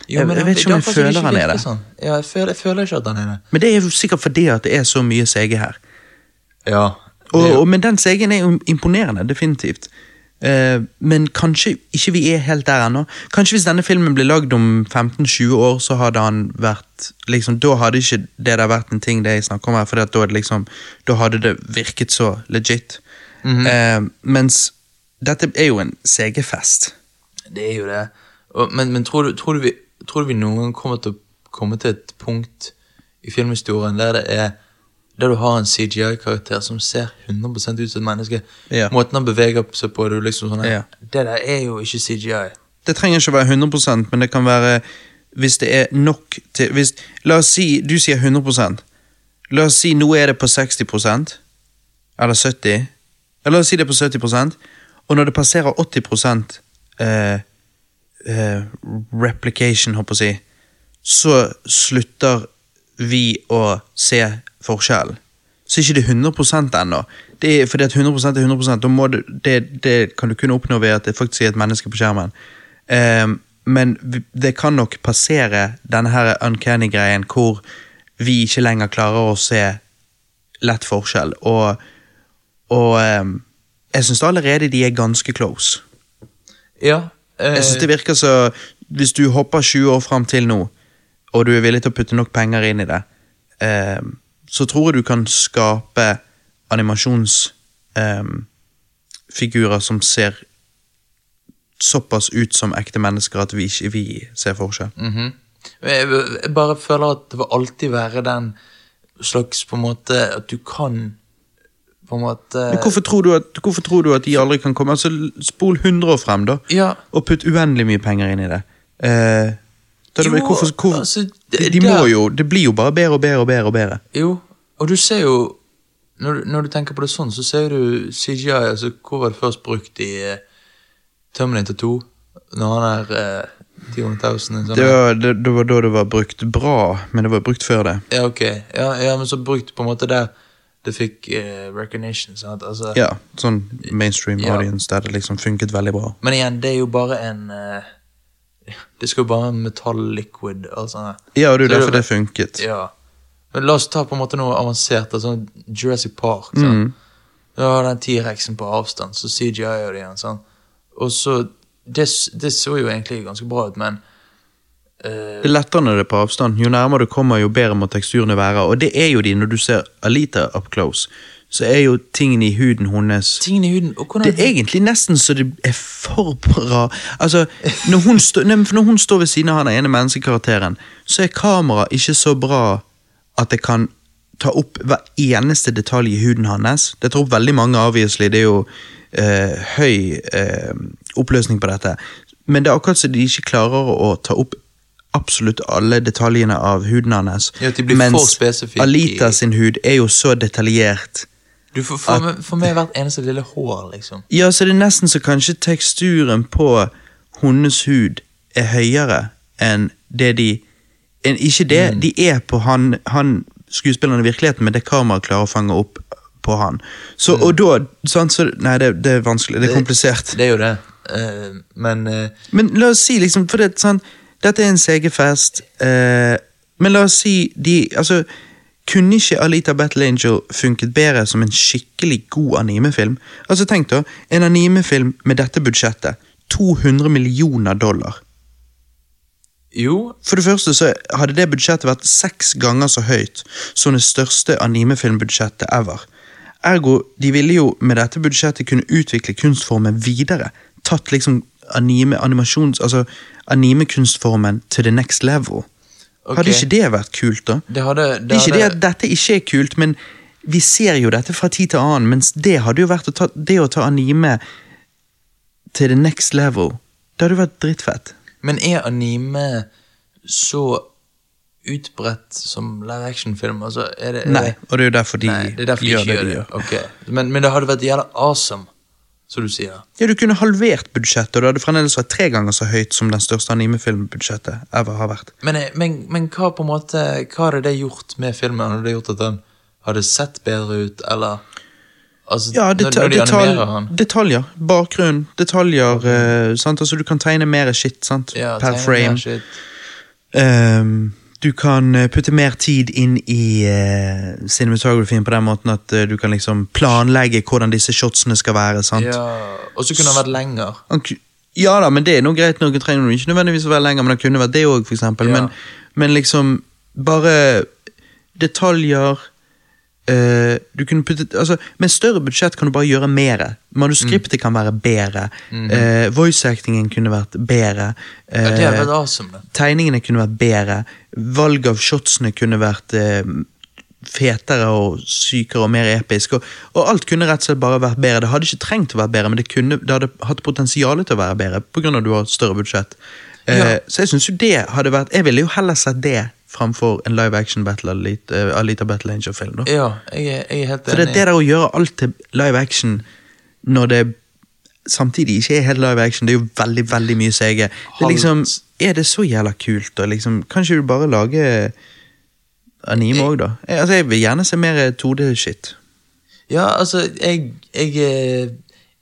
Jo, Jeg- men jeg det- vet ikke om det har jeg faktisk føler han er virket det. Sånn. Ja, jeg føler, jeg føler ikke at han er det. Men det er jo sikkert fordi at det er så mye CG her. Ja. det er Og, jo- og, men den segen er jo imponerende, definitivt. Eh, men kanskje ikke vi er helt der ennå. Kanskje hvis denne filmen ble lagd om 15-20 år, så hadde han vært liksom, Da hadde ikke det der vært en ting det jeg snakker om her, for da, er det liksom, da hadde det virket så legit. Eh, mens dette er jo en CG-fest. Det er jo det. Og, men men tror, du, tror, du vi, tror du vi noen gang kommer til å komme til et punkt i filmhistorien der det er der du har en CGI-karakter som ser 100 ut som et menneske? Ja. Måten han beveger seg på, du liksom sånn her, Ja. Det der er jo ikke CGI. Det trenger ikke å være 100 men det kan være hvis det er nok til hvis, La oss si du sier 100 La oss si nå er det på 60 eller 70 eller La oss si det er på 70 og når det passerer 80 eh, eh, replication, holdt på å si, så slutter vi å se forskjellen. Så er ikke det 100 ennå. Det er fordi at 100 er 100 da må du, det, det kan du kun oppnå ved at det faktisk er et menneske på skjermen. Ehm, men vi- det kan nok passere denne her uncanny-greien hvor vi ikke lenger klarer å se lett forskjell. Og, og ehm, jeg syns allerede de er ganske close. Ja. eh, Jeg synes det virker så Hvis du hopper 20 år frem til nå Og du er villig til å putte nok penger inn i det eh, Så tror jeg du kan skape Animasjonsfigurer eh, Figurer som ser Såpass ut som ekte mennesker At vi ikke vi ser forskjell Mhm. jeg, jeg bare føler at det vil alltid være den slags på en måte At du kan på en måte Men hvorfor tror du at, hvorfor tror du at de aldri kan komme Altså spol 100 år frem da Ja. Og putt uendelig mye penger inn i det eh, da er det Jo, vel- hvorfor, hvor, altså, de, det- de må der- jo, det blir jo bare bedre og bedre og bedre og bedre Jo, og du ser jo Når, du- når du tenker på det sånn, så ser du CGI altså, Hvor var det først brukt i eh, Terminator 2? Når han er eh, 10 000 sånn. Det var, det, det var da det var brukt bra, men det var brukt før det. Ja, ok. Ja, ja, men så brukt på en måte der det fikk eh, recognition. Sant? Altså, Ja, Sånn mainstream Ja. audience der det liksom funket veldig bra. Men igjen, det er jo bare en eh, Det skal jo bare være metall liquid. Altså, Ja, og det er Så jo derfor det- det funket. ja. Men la oss ta på en måte noe avansert, altså Jurassic Park. Mm. Sånn. Da har den T-rexen på avstand, så CGI-er det igjen. Sånn. Og så det, s- det så jo egentlig ganske bra ut, men eh, Det er lettere når det er på avstand. Jo nærmere du kommer, jo bedre må teksturene være. Og det er jo de, når du ser Alita up close, så er jo tingene i huden hennes tingene i huden og hvordan, Det er egentlig nesten så det er for bra. Altså, når hun, stå, nei, men for når hun står ved siden av han ene menneskekarakteren, så er kameraet ikke så bra at det kan ta opp hver eneste detalj i huden hans. Det tar opp veldig mange, obviously. Det er jo eh, høy eh, oppløsning på dette. Men det er akkurat som de ikke klarer å ta opp absolutt alle detaljene av huden hans. Ja, at de blir for spesifikke i- Alita sin hud er jo så detaljert. Du får for, meg- for meg hvert eneste lille hår, liksom. Ja, så det er nesten så kanskje teksturen på hundenes hud er høyere enn det de enn Ikke det, de er på han, han skuespilleren i virkeligheten, men det kameraet klarer å fange opp på han. Så, Og da sant, så, Nei, det, det er vanskelig. Det er komplisert. Det er jo det. Eh, men eh, Men la oss si, liksom, for det, er sånn, dette er en CG-fest, eh, men la oss si de altså, Kunne ikke Alita Battle Angel funket bedre som en skikkelig god animefilm? Altså, tenk da, en animefilm med dette budsjettet. 200 millioner dollar. jo, For det første så hadde det budsjettet vært seks ganger så høyt som det største animefilmbudsjettet ever. Ergo, de ville jo med dette budsjettet kunne utvikle kunstformen videre. Tatt liksom anime, animasjons, altså animekunstformen to the next level. Ok. Hadde ikke det vært kult, da? det hadde Det er ikke det hadde- at dette ikke er kult, men vi ser jo dette fra tid til annen, mens det hadde jo vært å ta, det å ta anime til the next level. Det hadde jo vært drittfett. Men er anime så utbredt som live action-film? Altså, er det, er Nei, det- og det er jo derfor de, nei, det er derfor de gjør ikke Eh, det de gjør det. gjør. Ok. Men, men det hadde vært jævla awesome, som du sier. Ja, Du kunne halvert budsjettet, og det hadde fremdeles vært tre ganger så høyt som den største animefilmbudsjettet ever har vært. Men, eh, men, men hva på en måte Hva hadde det gjort med filmen? Hadde det gjort at den hadde sett bedre ut, eller altså, Ja, når, deta når de detalj animerer han Detaljer. Bakgrunn, detaljer. eh, sant? Altså, du kan tegne mer shit sant? ja, per tegner frame. mer shit. Ehm, du kan eh, putte mer tid inn i eh, cinematografien på den måten at eh, du kan liksom planlegge hvordan disse shotsene skal være. sant? Ja, og så kunne han vært lenger. Han ku- Ja da, men det er noe greit nok. Det trenger noe ikke nødvendigvis å være lenger, men det kunne vært det òg, for eksempel. Ja. Men, men liksom Bare detaljer eh, Du kunne puttet Altså, med større budsjett kan du bare gjøre mer. Mm. Manuskriptet kan være bedre. eh, Voice-actingen kunne vært bedre. Mhm. Ja, det hadde eh, vært awesome. det. tegningene kunne vært bedre. Valg av shotsene kunne vært eh, fetere og sykere og mer episk. Og, og alt kunne rett og slett bare vært bedre. Det hadde ikke trengt å være bedre, men det, kunne, det hadde hatt potensial til å være bedre pga. at du har et større budsjett. Eh, Ja. Så jeg synes jo det hadde vært Jeg ville jo heller sett det framfor en live action battle Alita, eh, Alita Battle Angel-film. da. Ja, jeg er, jeg er helt For det, enig. det der å gjøre alt til live action når det samtidig ikke er helt live action, det er jo veldig, veldig mye CG. Det er liksom, er det så jævla kult? Og liksom, kan ikke du bare lage anime òg, da? Jeg, altså, jeg vil gjerne se mer 2D-shit. Ja, altså, jeg, jeg, eh,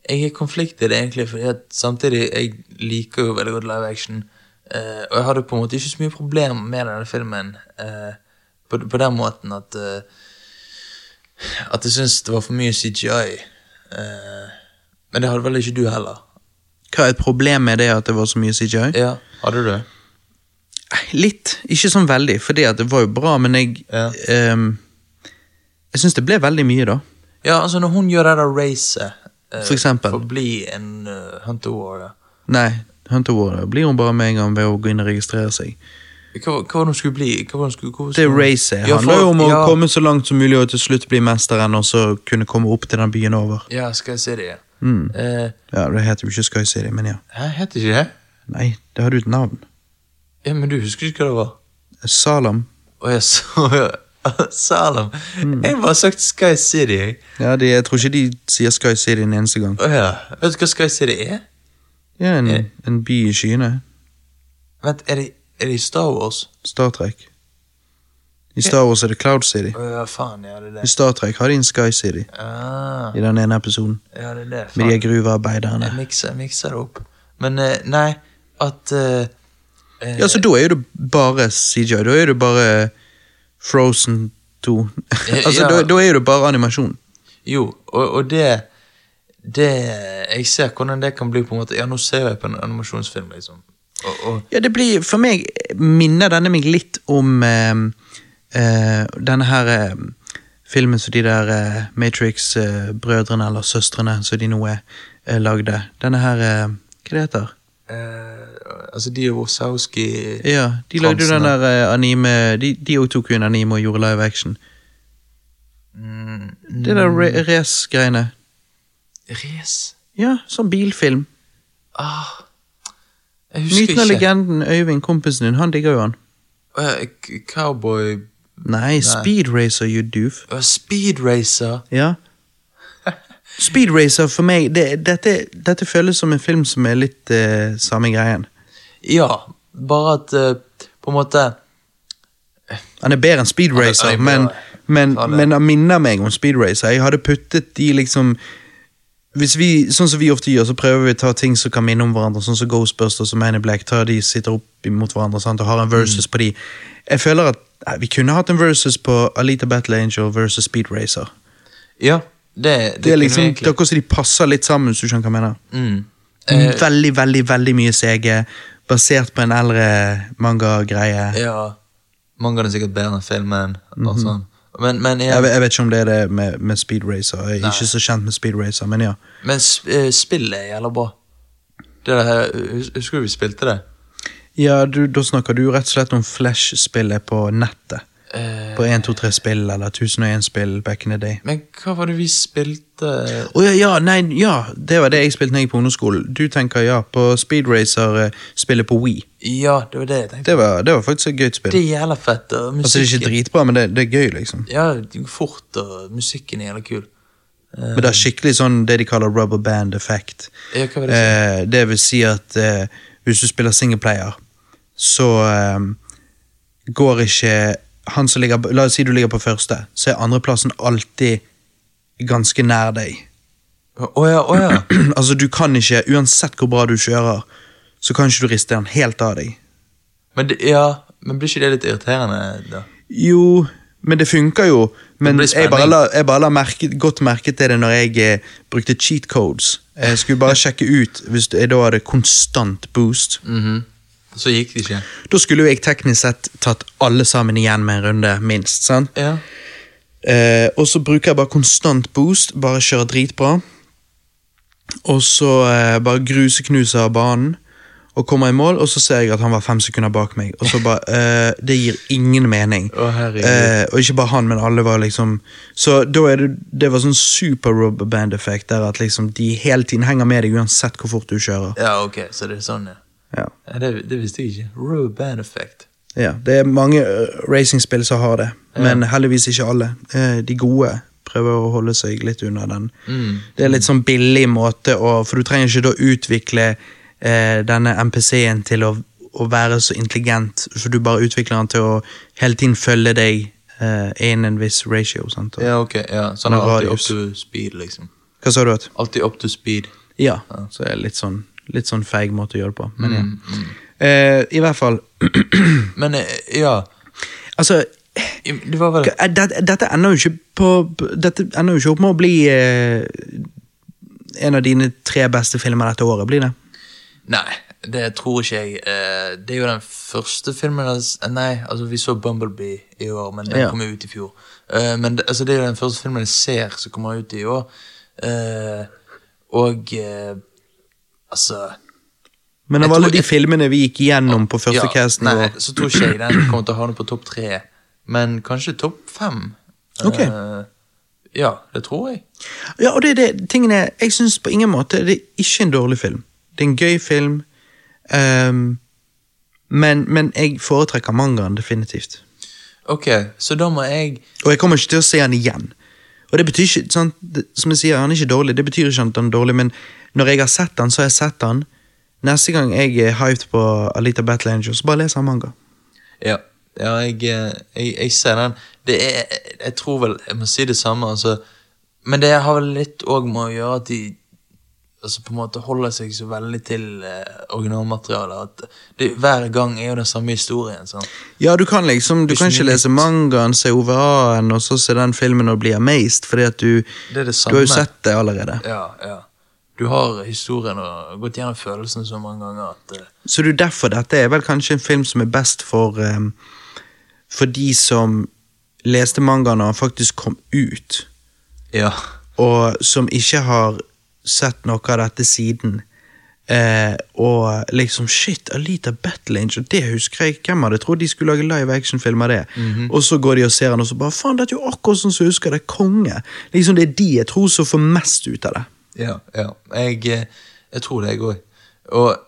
jeg er konfliktet egentlig, fordi at samtidig, jeg liker jo veldig godt live action, eh, og jeg hadde på en måte ikke så mye problem med denne filmen, eh, på, på den måten at, eh, at jeg synes det var for mye CGI, eh, men det hadde vel ikke du heller. Hva er et problem med det at det var så mye CGI? Ja, hadde du det? Litt. Ikke sånn veldig, fordi at det var jo bra, men jeg Ja. ehm, Jeg syns det ble veldig mye, da. Ja, altså, når hun gjør det der racet, eh, For eksempel. for å bli en eh, Hunter War, Nei, Hunter Warder blir hun bare med en gang ved å gå inn og registrere seg. hva, hva var det hun skulle bli? Hva var det hun skulle... hva var Det hun- racet Ja, handler jo om å ja. komme så langt som mulig og til slutt bli mesteren, og så kunne komme opp til den byen over. Ja, skal jeg se det, ja. Mm. Eh, Ja, Det heter jo ikke Sky City, men ja. Hæ, heter ikke det? Nei, det hadde jo et navn. Ja, men du husker ikke hva det var? Salam. Å, jeg så Salam. Mm. Jeg har bare sagt Sky City, jeg. Ja, de, Jeg tror ikke de sier Sky City en eneste gang. Å ja. Vet du hva Sky City er? Det er en, en by i skyene. Vent, er det, er det i Star Wars? Star Trek. I Star Wars er det Cloud City. Å ja, faen, ja, det er I det. Star Trek har de en Sky City Ah, i den ene episoden. ja, det er det. Med de Faen. gruvearbeiderne. Jeg mikser, jeg mikser det opp. Men eh, nei, at eh, eh, Ja, så da er jo det bare CJ. Da er det bare Frozen 2. altså, ja. da, da er jo det bare animasjon. Jo, og, og det det, Jeg ser hvordan det kan bli på en måte Ja, nå ser jeg på en animasjonsfilm, liksom. Og, og, Ja, det blir, for meg minner denne meg litt om eh, eh, denne her eh, filmen som de der eh, Matrix-brødrene eller søstrene som de nå er, eh, lagde. Denne her eh, Hva det heter eh, altså, de er Wosowski Ja, de lagde jo den Transene. der eh, anime De de òg tok jo en anime og gjorde live action. Mm, Det der ra- race-greiene. Res? Ja, sånn bilfilm. Ah. Jeg husker Myten og ikke. legenden Øyvind, kompisen din, han digger jo han. Eh, k- Cowboy Nei, Speed Racer, you doof. uh, Speed Racer. Ja. Speed Racer for meg, det, dette, dette føles som en film som er litt eh, samme greien. Ja, bare at eh, på en måte Han er bedre enn Speed er- Racer, han er men, bedre. men, Han er- men han minner meg om Speed Racer. Jeg hadde puttet de liksom hvis vi, Sånn som vi ofte gjør, så prøver vi å ta ting som kan minne om hverandre, sånn som Ghostbusters og Man in Black. Tar de sitter opp imot hverandre sant, og har en Mm. versus på de. Jeg føler at eh, vi kunne hatt en versus på Alita Battle Angel versus Speed Racer. Ja, det, det, Det kunne er liksom, det egentlig er akkurat som de passer litt sammen, hvis du skjønner hva jeg mener. mm. Veldig, veldig, veldig mye CG, basert på en eldre manga-greie. Ja. Mangaen er sikkert bedre enn filmen. og sånn. Men, men, ja, Mhm. Jeg, vet- jeg vet ikke om det er det med, med Speed Racer. Jeg er ikke så kjent med Speed Racer, men ja. men sp eh, spillet er jævla bra. Det der, hus- husker du vi spilte det? Ja, du, Da snakker du rett og slett om Flash-spillet på nettet. Eh, På 123-spill eller 1001-spill back in the day. men hva var det vi spilte Å ja, ja, nei, ja, det var det jeg spilte når jeg gikk på ungdomsskolen. Du tenker ja, på Speed Racer-spillet på Wii. Ja, det var det jeg tenkte. Det var, det var faktisk et gøyt Det spill. er jævla fett. og Altså, Det er ikke musikken- dritbra, men det, det er gøy, liksom. Ja, det går fort, og musikken er jævla kul. Men det er skikkelig sånn det de kaller rubber band effect. Ja, hva var det? Eh, det vil si at eh, hvis du spiller singleplayer, så eh, går ikke han som ligger, La oss si du ligger på første, så er andreplassen alltid ganske nær deg. Å ja, å ja. altså Du kan ikke, uansett hvor bra du kjører, så kan ikke du riste den helt av deg. Men, det, ja, men blir ikke det litt irriterende, da? Jo, men det funker jo. Men blir jeg bare spenning. la, jeg bare la merke, godt merke til det når jeg eh, brukte cheat codes. Jeg skulle bare sjekke ut hvis jeg da hadde konstant boost. Så gikk det ikke. Da skulle jo jeg teknisk sett tatt alle sammen igjen med en runde, minst. sant? Ja. Eh, og så bruker jeg bare konstant boost, bare kjører dritbra. Og så eh, bare gruseknuser banen og kommer i mål, og så ser jeg at han var fem sekunder bak meg. Og så bare, eh, Det gir ingen mening. Å, herregud. Eh, og ikke bare han, men alle var liksom Så da er det, det var sånn super rubber band-effekt, der at liksom de hele tiden henger med deg uansett hvor fort du kjører. ja, ok, så det er sånn, ja. Ja. ja det, det visste jeg ikke. Row band effect. Ja, det er mange eh, racingspill som har det, men heldigvis ikke alle. Eh, de gode prøver å holde seg litt unna den. Det er litt sånn billig måte å For du trenger ikke da utvikle eh, denne MPC-en til å, å være så intelligent, for du bare utvikler den til å hele tiden følge deg eh, innen en viss ratio. Sant? Og, Ja, ok, ja. Så han Med er alltid up radius. to speed, liksom. Hva sa du? at? Alltid up to speed. Ja, så det er litt sånn, litt sånn feig måte å gjøre det på. Men ja. Eh, I hvert fall Men, eh, ja. Altså Det var vel... Eh, det- Dette ender jo ikke på Dette ender jo ikke opp med å bli eh, en av dine tre beste filmer dette året, blir det? Nei, det tror ikke jeg. Eh, Det er jo den første filmen hans Nei, altså vi så Bumblebee i år, men den Ja. kom jo ut i fjor. Eh, Men det- altså, det er jo den første filmen jeg ser som kommer ut i år. Eh, Og eh, altså Men av Jeg alle tror- de jeg- filmene vi gikk gjennom på første casten nei, vår så tror ikke jeg den kommer til å havne på topp tre, men kanskje topp fem. Eh, Ok. Ja, det tror jeg. Ja, og det er det tingene Jeg syns på ingen måte det er ikke en dårlig film. Det er en gøy film, ehm, men, men jeg foretrekker mangaen definitivt. Ok, så da må jeg Og jeg kommer ikke til å se han igjen. Og det betyr ikke, sant, det- Som jeg sier, han er ikke dårlig, det betyr ikke at han er dårlig, men når jeg har sett han, så har jeg sett han. Neste gang jeg er hyped på Alita Battle Angel, så bare leser jeg manga. Ja, ja jeg, eh, jeg, jeg ser den. Det er, jeg tror vel jeg må si det samme, altså. Men det har vel litt òg med å gjøre at de altså på en måte holder seg så veldig til eh, originalmaterialet. At det, hver gang er jo den samme historien. sant? Ja, du kan liksom, du Det er kan ikke ikke mye lese mangaen, se OVA-en, og så se den filmen og bli amazed, fordi at du Det er det Du har jo samme. sett det allerede. Ja, ja. Du har historien og gått gjennom følelsene så mange ganger at eh, Så det er derfor dette er vel kanskje en film som er best for ehm, For de som leste mangaen når han faktisk kom ut. Ja. og som ikke har sett noe av dette siden. Eh, og liksom shit, Alita Battle Angel, det husker jeg. Hvem hadde trodd de skulle lage live action-film av det? Mhm. Og så går de og ser den, og så bare faen, det er jo akkurat sånn som jeg husker det. Konge. Liksom Det er de jeg tror som får mest ut av det. Ja, ja. Jeg, eh, jeg tror det, jeg òg. Og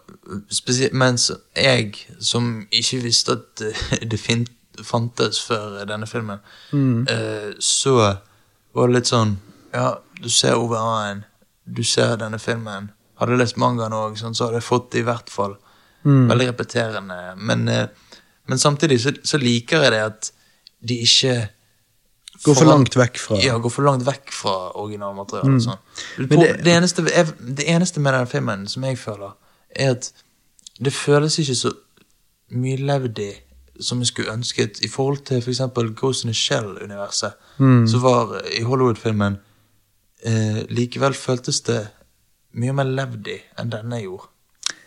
spesielt mens jeg, som ikke visste at eh, det fin fantes før denne filmen, Mm. eh, så var det litt sånn Ja, du ser Ove A-en, du ser denne filmen. Hadde jeg lest mangaen òg, så hadde jeg fått det i hvert fall. Mm. Veldig repeterende. Men, eh, men samtidig så, så liker jeg det at de ikke Gå for foran- langt vekk fra ja, gå for langt vekk fra originalmaterialet. og Sånn. Mm. Men Pro- det- det, eneste, jeg, det eneste med den filmen som jeg føler, er at det føles ikke så mye levd i som jeg skulle ønsket, i forhold til f.eks. eksempel Ghost in the Shell-universet, Mm. som var i Hollywood-filmen. Eh, likevel føltes det mye mer levd i enn denne gjorde.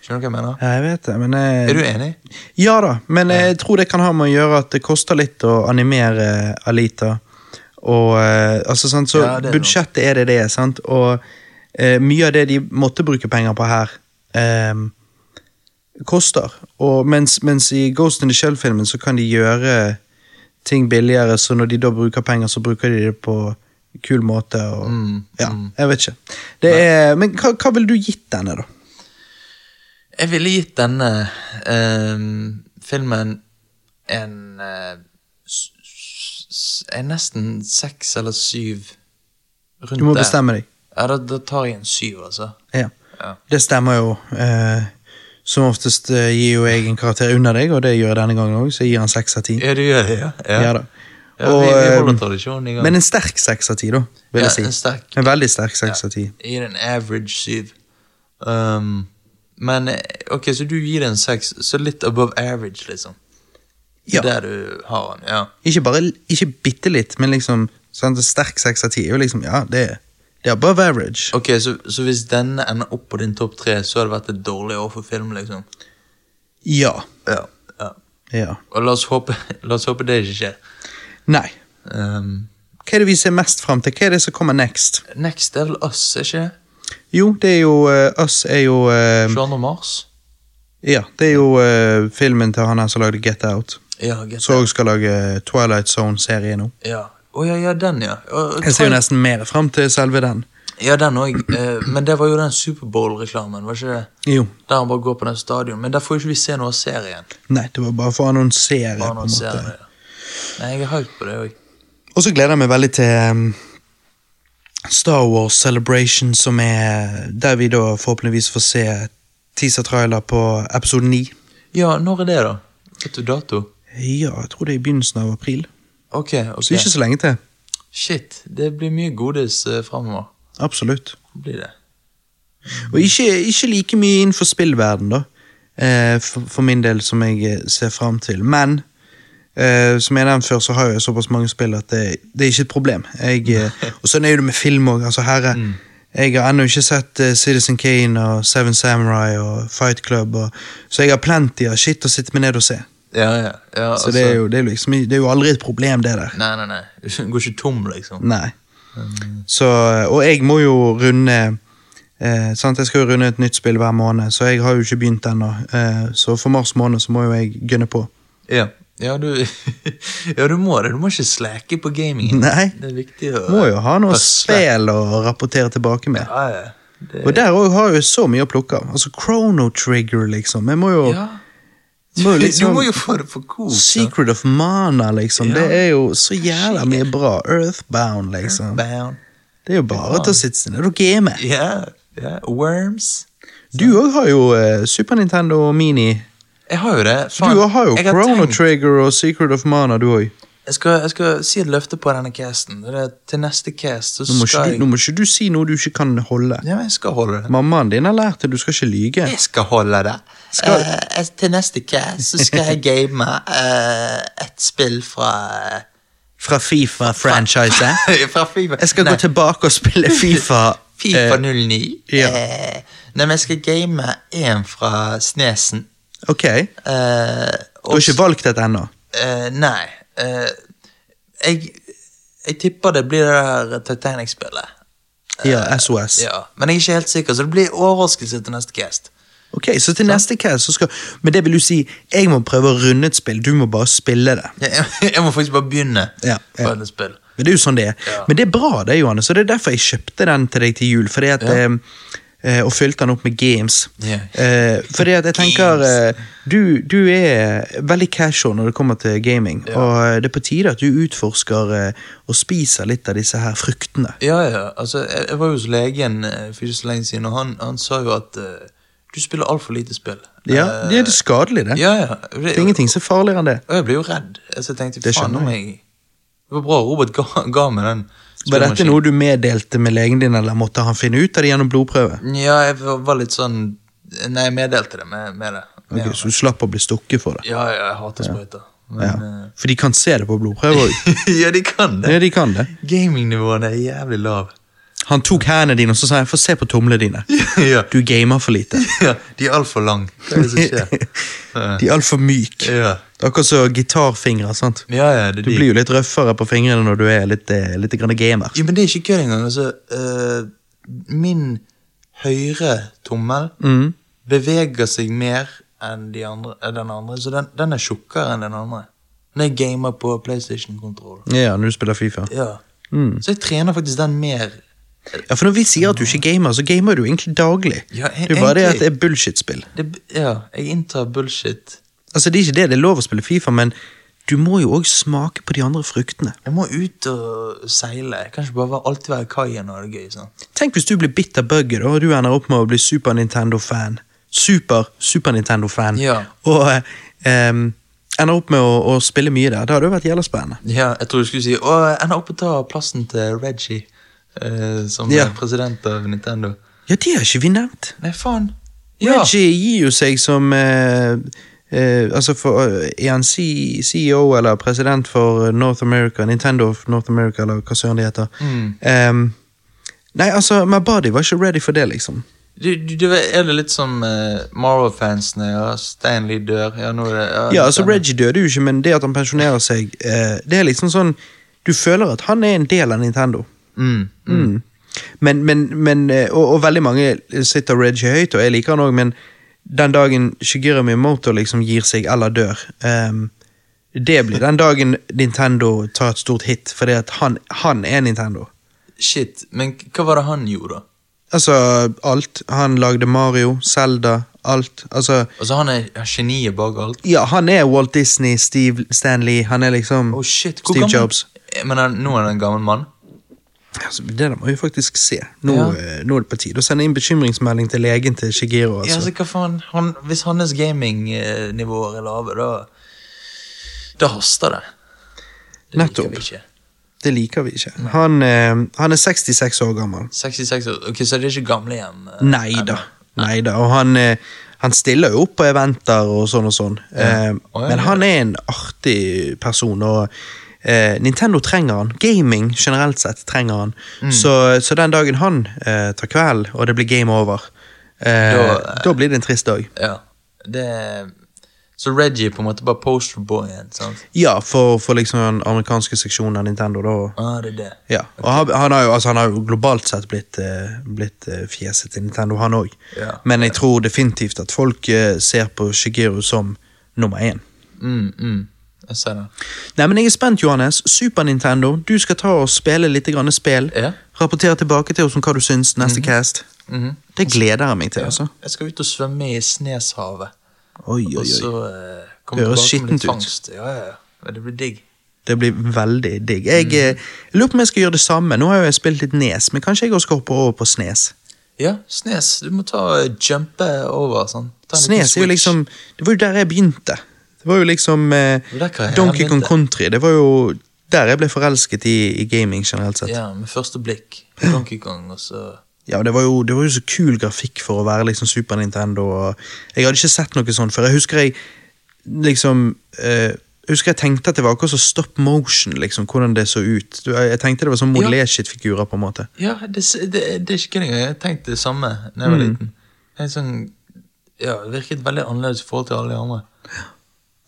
Skjønner du hva jeg mener? Ja, jeg vet det, men eh, jeg... Er du enig? Ja da, men jeg tror det kan ha med å gjøre at det koster litt å animere Alita. Og, eh, altså, sant, så Ja, det er sant. budsjettet er det det er, sant? Og eh, mye av det de måtte bruke penger på her, eh, koster. Og mens, mens i Ghost in the Shell-filmen så kan de gjøre ting billigere, så når de da bruker penger, så bruker de det på kul måte. Og, Mm, ja, jeg vet ikke. Det er, men hva, hva vil du gitt denne, da? Jeg ville gitt denne ehm, filmen en eh, s- s- s- en nesten seks eller syv rundt Du må der. bestemme deg. Ja, da, da tar jeg en syv, altså. Ja. Ja. Det stemmer jo. Eh, som oftest eh, gir jo jeg en karakter under deg, og det gjør jeg denne gangen òg, så jeg gir han seks av ti. Ja, du gjør det, ja? Ja da. Ja, Og, vi, vi holder eh, tradisjonen i gang. Men en sterk seks av ti, da, vil ja, jeg si. En sterk En veldig sterk seks av ti. Jeg gir en average syv. Ehm, men eh, ok, så du gir det en seks, så litt above average, liksom. Ja. Der du har den, ja. Ikke bare ikke bitte litt, men liksom sånn, en sterk seks av ti er jo liksom Ja, det er, det er above average. Ok, så, så hvis denne ender opp på din topp tre, så har det vært et dårlig år for film, liksom? Ja. Ja. ja. ja. Og la oss håpe, la oss håpe det ikke skjer. Nei. Ehm, Hva er det vi ser mest fram til? Hva er det som kommer next? next er vel oss, er ikke det? Jo, det er jo eh, Us er jo eh, 22. mars? Ja, det er jo eh, filmen til han her som lagde Get Out. Ja, get Så jeg skal lage Twilight Zone-serie nå. ja. Å ja, ja, den, ja. Og- og Jeg ser jo Twilight- nesten mer frem til selve den. Ja, den òg. Men det var jo den Superbowl-reklamen, var ikke det? Jo. Der han bare går på den stadion. Men der får jo ikke vi se noe av serien. Nei, det var bare for å annonsere. på Bare en noen serier, måte. ja. Nei, jeg er hyped på det òg. Og så gleder jeg meg veldig til um, Star Wars Celebration, som er der vi da forhåpentligvis får se teaser-trailer på episode 9. Ja, når er det, da? Vet du dato? Ja, jeg tror det er i begynnelsen av april. Ok, ok. Så ikke så lenge til. Shit, det blir mye godis uh, framover. Absolutt. Blir det. Og ikke, ikke like mye innenfor spillverden da. Eh, for, for min del, som jeg eh, ser fram til. Men eh, som jeg nevnte før, så har jeg såpass mange spill at det, det er ikke et problem. Jeg, eh, og sånn er det med film òg. Altså, her er- jeg har ennå ikke sett eh, Citizen Kane og Seven Samurai og Fight Club, og, så jeg har plenty av shit å sitte meg ned og se. Ja, ja. ja altså, Så det er, jo, det, er liksom, det er jo aldri et problem, det der. Nei, nei, nei. Du går ikke tom, liksom. Nei. Så, og jeg må jo runde eh, sant? Jeg skal jo runde et nytt spill hver måned, så jeg har jo ikke begynt ennå. Eh, så for mars måned så må jo jeg gønne på. Ja, ja, du, ja du må det. Du må ikke slake på gamingen. Nei. Det er viktig å Må jo ha noe Hustle. spill å rapportere tilbake med. Ja, ja. Det, Og der òg har jeg jo så mye å plukke av. Altså Chrono Trigger, liksom. Jeg må jo ja. må jo liksom- Du må jo få det på kok. da. Secret of Mana, liksom. Ja. Det er jo så jævla mye bra. Earthbound, liksom. Bound. Det er jo bare til å sitte seg ned og game. Ja, ja. Worms. Du òg har jo eh, Super Nintendo Mini. Jeg har jo det. Faen, Du har jo jeg har Chrono tenkt- Trigger og Secret of Mana, du òg. Jeg skal, jeg skal si et løfte på denne casten. Det er til neste cast så Nå, må ikke skal du- nå må ikke du si noe du ikke kan holde. jeg Ja, jeg skal holde det. Mammaen din har lært det, du skal ikke lyge. Jeg skal holde det. Skal- Eh, til neste cast så skal jeg game eh, et spill fra eh, Fra Fifa-franchiset. Fra FIFA. Jeg skal Nei. gå tilbake og spille Fifa. Fifa Eh, 09. ja. Eh, nei, men jeg skal game én fra Snesen. ok, du Eh, og har ikke valgt dette ennå. eh, Nei. Eh, jeg, jeg tipper det blir det der Titanic-spillet. Ja, SOS. Eh, Ja, Men jeg er ikke helt sikker, så det blir overraskelse til neste cast. Ok, Så til neste cast så skal Men det vil du si, jeg må prøve å runde et spill, du må bare spille det. Jeg, jeg, jeg må faktisk bare begynne Ja, ja. på et spill. Men det er jo sånn det er. Ja. Men det er bra, det, Johannes, og det er derfor jeg kjøpte den til deg til jul. Fordi at Ja. eh, eh, og fylte den opp med games. Yeah. Eh, fordi at jeg tenker eh, du, du er veldig casual når det kommer til gaming, og eh, det er på tide at du utforsker eh, og spiser litt av disse her fruktene. Ja, ja. Altså, jeg, jeg var jo hos legen eh, for ikke så lenge siden, og han, han sa jo at eh, du spiller altfor lite spill. Ja, Eh, Det er det skadelig, det. ja, ja. Det er ingenting som er farligere enn det. Og jeg ble jo redd. Altså, jeg tenkte, Det faen skjønner om jeg Det var bra Robert ga, ga meg den. Var dette spillemaskinen. noe du meddelte med legen din, eller måtte han finne ut av det gjennom blodprøve? Ja, jeg var var litt sånn Nei, jeg meddelte det med, med det. Ok, Ja. så du slapp å bli stukket for det? ja, ja, jeg hater sprøyter. Ja. Men eh, For de kan se det på blodprøver? også. ja, de kan det. Ja, de kan det. Gamingnivåene er jævlig lave. Han tok hendene dine og så sa han, få se på tomlene dine. ja, Du gamer for lite. ja, de er altfor lange. Hva er det som skjer? Eh, De er altfor myke. ja. Det er Akkurat som gitarfingre. sant? ja, ja, det er Du de. blir jo litt røffere på fingrene når du er litt, eh, litt grann gamer. Ja, men det er ikke kødd engang. Altså, eh, min høyre tommel Mm. beveger seg mer enn de andre, eh, den andre, så den, den er tjukkere enn den andre. Når jeg gamer på PlayStation-kontroll. Ja, når du spiller Fifa. Ja. Mm. Så jeg trener faktisk den mer. Ja, For når vi sier at du ikke gamer, så gamer du egentlig daglig. Ja, e- Det er bare det at egentlig. det er bullshit-spill. Det, ja, jeg inntar bullshit. Altså, Det er ikke det det er lov å spille Fifa, men du må jo òg smake på de andre fruktene. Jeg må ut og seile. Jeg kan ikke bare være, alltid være i kaien og ha det gøy. sånn. Tenk hvis du blir bitt av bugget, da, og du ender opp med å bli Super Nintendo-fan. Super Super Nintendo-fan. Ja. Og eh, em, ender opp med å, å spille mye der. Det hadde jo vært jævla spennende. Ja, jeg tror du skulle si Å, jeg ender opp og tar plassen til Reggie eh, som Ja. er president av Nintendo. Ja, det har ikke vi nevnt. Nei, faen. Ja. Reggie gir jo seg som eh, eh, Altså, for, eh, er han C CEO eller president for North America, Nintendo of North America, eller hva søren det heter? Mm. Em, nei, altså, my body var ikke ready for det, liksom. Du, du, du, vet, er det litt som eh, Marvel-fansene? Ja, Stan Lee dør. Ja, nå er det Ja, altså Stan- Reggie døde jo ikke, men det at han pensjonerer seg eh, Det er liksom sånn Du føler at han er en del av Nintendo. mm, mm. Mm. Men, men, men eh, og, og veldig mange sitter Reggie høyt, og jeg liker han òg, men den dagen Shigeru Miyamoto liksom gir seg eller dør ehm, Det blir den dagen Nintendo tar et stort hit, fordi at han, han er Nintendo. Shit. Men k- hva var det han gjorde, da? Altså alt. Han lagde Mario, Zelda, alt. Altså Altså, han er er geniet bak alt. Ja, han er Walt Disney, Steve Stanley, han er liksom Oh, shit. Steve gammel- Jobs. Eh, Men han, nå er han en gammel mann? Altså, det der må vi faktisk se. Nå, Ja. eh, nå er det på tide å sende inn bekymringsmelding til legen til Shigeru. Ja, Altså. altså, hva faen? Han, hvis hans gamingnivåer er lave, da Da haster det. det liker Nettopp. vi ikke. det liker vi ikke. Han, eh, han er 66 år gammel. 66 år. Ok, Så det er ikke gamlehjem? eh, Nei da. Nei da. Og han, eh, han stiller jo opp på eventer og sånn og sånn. Eh, Å, ja, men ja. han er en artig person, og eh, Nintendo trenger han. Gaming generelt sett trenger han. Mm. Så, så den dagen han eh, tar kvelden, og det blir game over, eh, Da- da blir det en trist dag. Ja. Det Så Reggie er på en måte bare posterboyen, sant? Ja, for, for liksom den amerikanske seksjonen av Nintendo, da. Ah, det er det. Ja, og han, han, har jo, altså, han har jo globalt sett blitt, eh, blitt eh, fjeset til Nintendo, han òg. Ja. Men jeg tror definitivt at folk eh, ser på Shigeru som nummer én. Mm, mm. Jeg ser det. Nei, men Jeg er spent, Johannes. Super Nintendo, du skal ta og spille litt grann spill. Ja. Rapportere tilbake til oss om hva du syns neste cast. Mhm. Det gleder jeg meg til, altså. Jeg skal ut og svømme i Sneshavet. Oi, oi, Og så oi. eh, komme Det høres tilbake med skittent litt ut. fangst. Ja, ja, ja. Det blir digg. Det blir veldig digg. Jeg Mhm. eh, lurer på om jeg skal gjøre det samme. Nå har jo jeg spilt litt Nes, men kanskje jeg også skal hoppe over på Snes. Ja, Snes. Du må ta eh, jumpe over. sånn. Ta en liten Snes er jo switch. liksom Det var jo der jeg begynte. Det var jo liksom eh, Det var der karrieren Donkey Kong begynte. Country. Det var jo der jeg ble forelsket i, i gaming generelt sett. Ja, med første blikk. Donkey Kong, og så Ja, og det var, jo, det var jo så kul grafikk for å være liksom Super Nintendo. Og jeg hadde ikke sett noe sånt før. Jeg husker jeg liksom eh, husker jeg tenkte at det var akkurat som stop motion, liksom, hvordan det så ut. Du, Jeg jeg tenkte det var sånn Ja. modellershit-figurer, på en måte. Ja, det, s- det, det er ikke kødd engang. Jeg tenkte det samme da jeg var Mm. liten. Helt sånn, ja, det Virket veldig annerledes i forhold til alle de andre.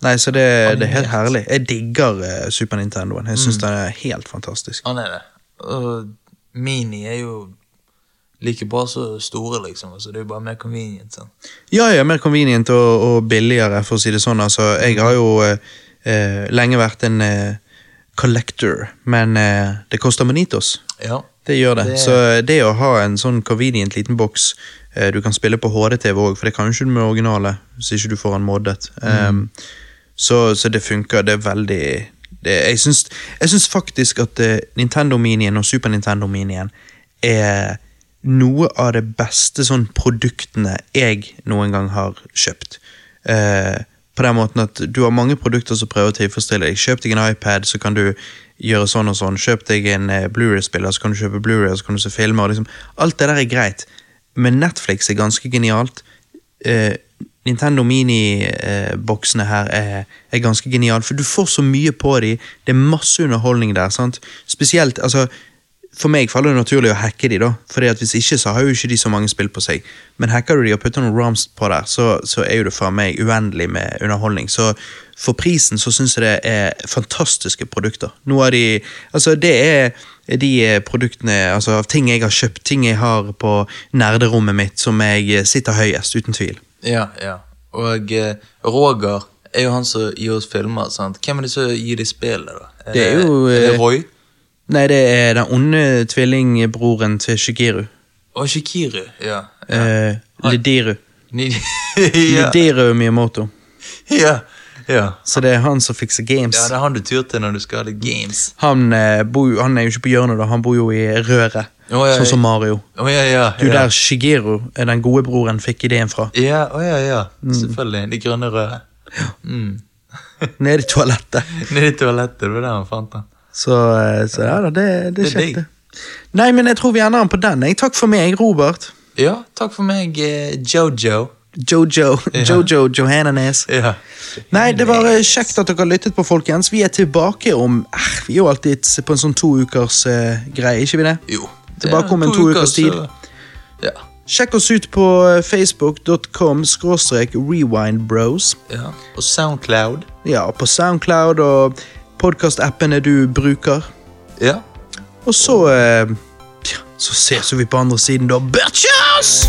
Nei, så det, det er helt Animert. Mm. herlig. Jeg digger eh, Super Nintendoen. Jeg syns den er helt fantastisk. Han er det. Ah, Og Mini er jo like bra som store, liksom. Så det er jo bare mer convenient. sånn. Ja, ja, mer convenient og, og billigere, for å si det sånn. Altså, jeg har jo eh, eh, lenge vært en eh, collector, men eh, det koster monitos. Ja. Det gjør det. Det- Så det å ha en sånn convenient liten boks Eh, Du kan spille på HD-TV òg, for det kan jo ikke du med originale. Hvis ikke du får den moddet. Ehm, så, så det funker. Det er veldig det, jeg, syns, jeg syns faktisk at eh, Nintendo Minien og Super Nintendo Minien er noe av det beste sånn produktene jeg noen gang har kjøpt. Eh, på den måten at du har mange produkter som prøver å tilfredsstille deg. Kjøp deg en iPad, så kan du gjøre sånn og sånn. Kjøp deg en eh, Blu-ray-spiller, så kan du kjøpe Blu-ray, så kan du se filmer. og Liksom. Alt det der er greit, men Netflix er ganske genialt. Eh, Nintendo Mini-boksene her er, er ganske geniale, for du får så mye på dem. Det er masse underholdning der. sant? Spesielt, altså, For meg faller det naturlig å hacke de da, Fordi at hvis ikke så har jo ikke de så mange spill på seg. Men hacker du de og putter noen ROMs på der, så, så er jo det for meg uendelig med underholdning. Så for prisen så syns jeg det er fantastiske produkter. Noe av de Altså, det er de eh, produktene, altså av ting jeg har kjøpt, ting jeg har på nerderommet mitt, som jeg eh, sitter høyest, uten tvil. Ja, ja. Og eh, Roger er jo han som gir oss filmer. sant? Hvem er det som gir de spillet, da? Det er jo, Er det eh, Roy? Nei, det er den onde tvillingbroren til Shigiru. Og Shikiru. Ja. ja. Eh, Lidiru. Ni- ja. Lidiru Miyamoto. ja. ja. Så det er han som fikser games. Ja, det er han du tyr til når du skal ha litt games. Han, eh, bor, jo- han er jo ikke på hjørnet, da. han bor jo i røret. Å, ja, sånn som Mario. Å ja, ja. Det er jo ja. der Shigeru, eh, den gode broren, fikk ideen fra. Ja, å ja, ja. Mm. Selvfølgelig. Det grønne røret. Mm. Nede i toalettet. Nede i toalettet, det var der han fant den. Så, eh, så ja da, det, det er Det er kjekt, digg. det. Nei, men jeg tror vi ender den på den. jeg. Takk for meg, Robert. Ja, takk for meg, eh, Jojo. Jojo. Jojo Johannanes. Ja. Nei, det var eh, kjekt at dere lyttet på, folkens. Vi er tilbake om eh, Vi er jo alltid på en sånn to ukers eh, greie, ikke vi det? Jo. Tilbake om en to ukers tid. så- Ja. Sjekk oss ut på eh, facebook.com skråstrek rewindbros. ja. Og Soundcloud. Ja, på Soundcloud og podkastappene du bruker. Ja. Og så eh, tja, Så ses vi på andre siden, da. Bitches!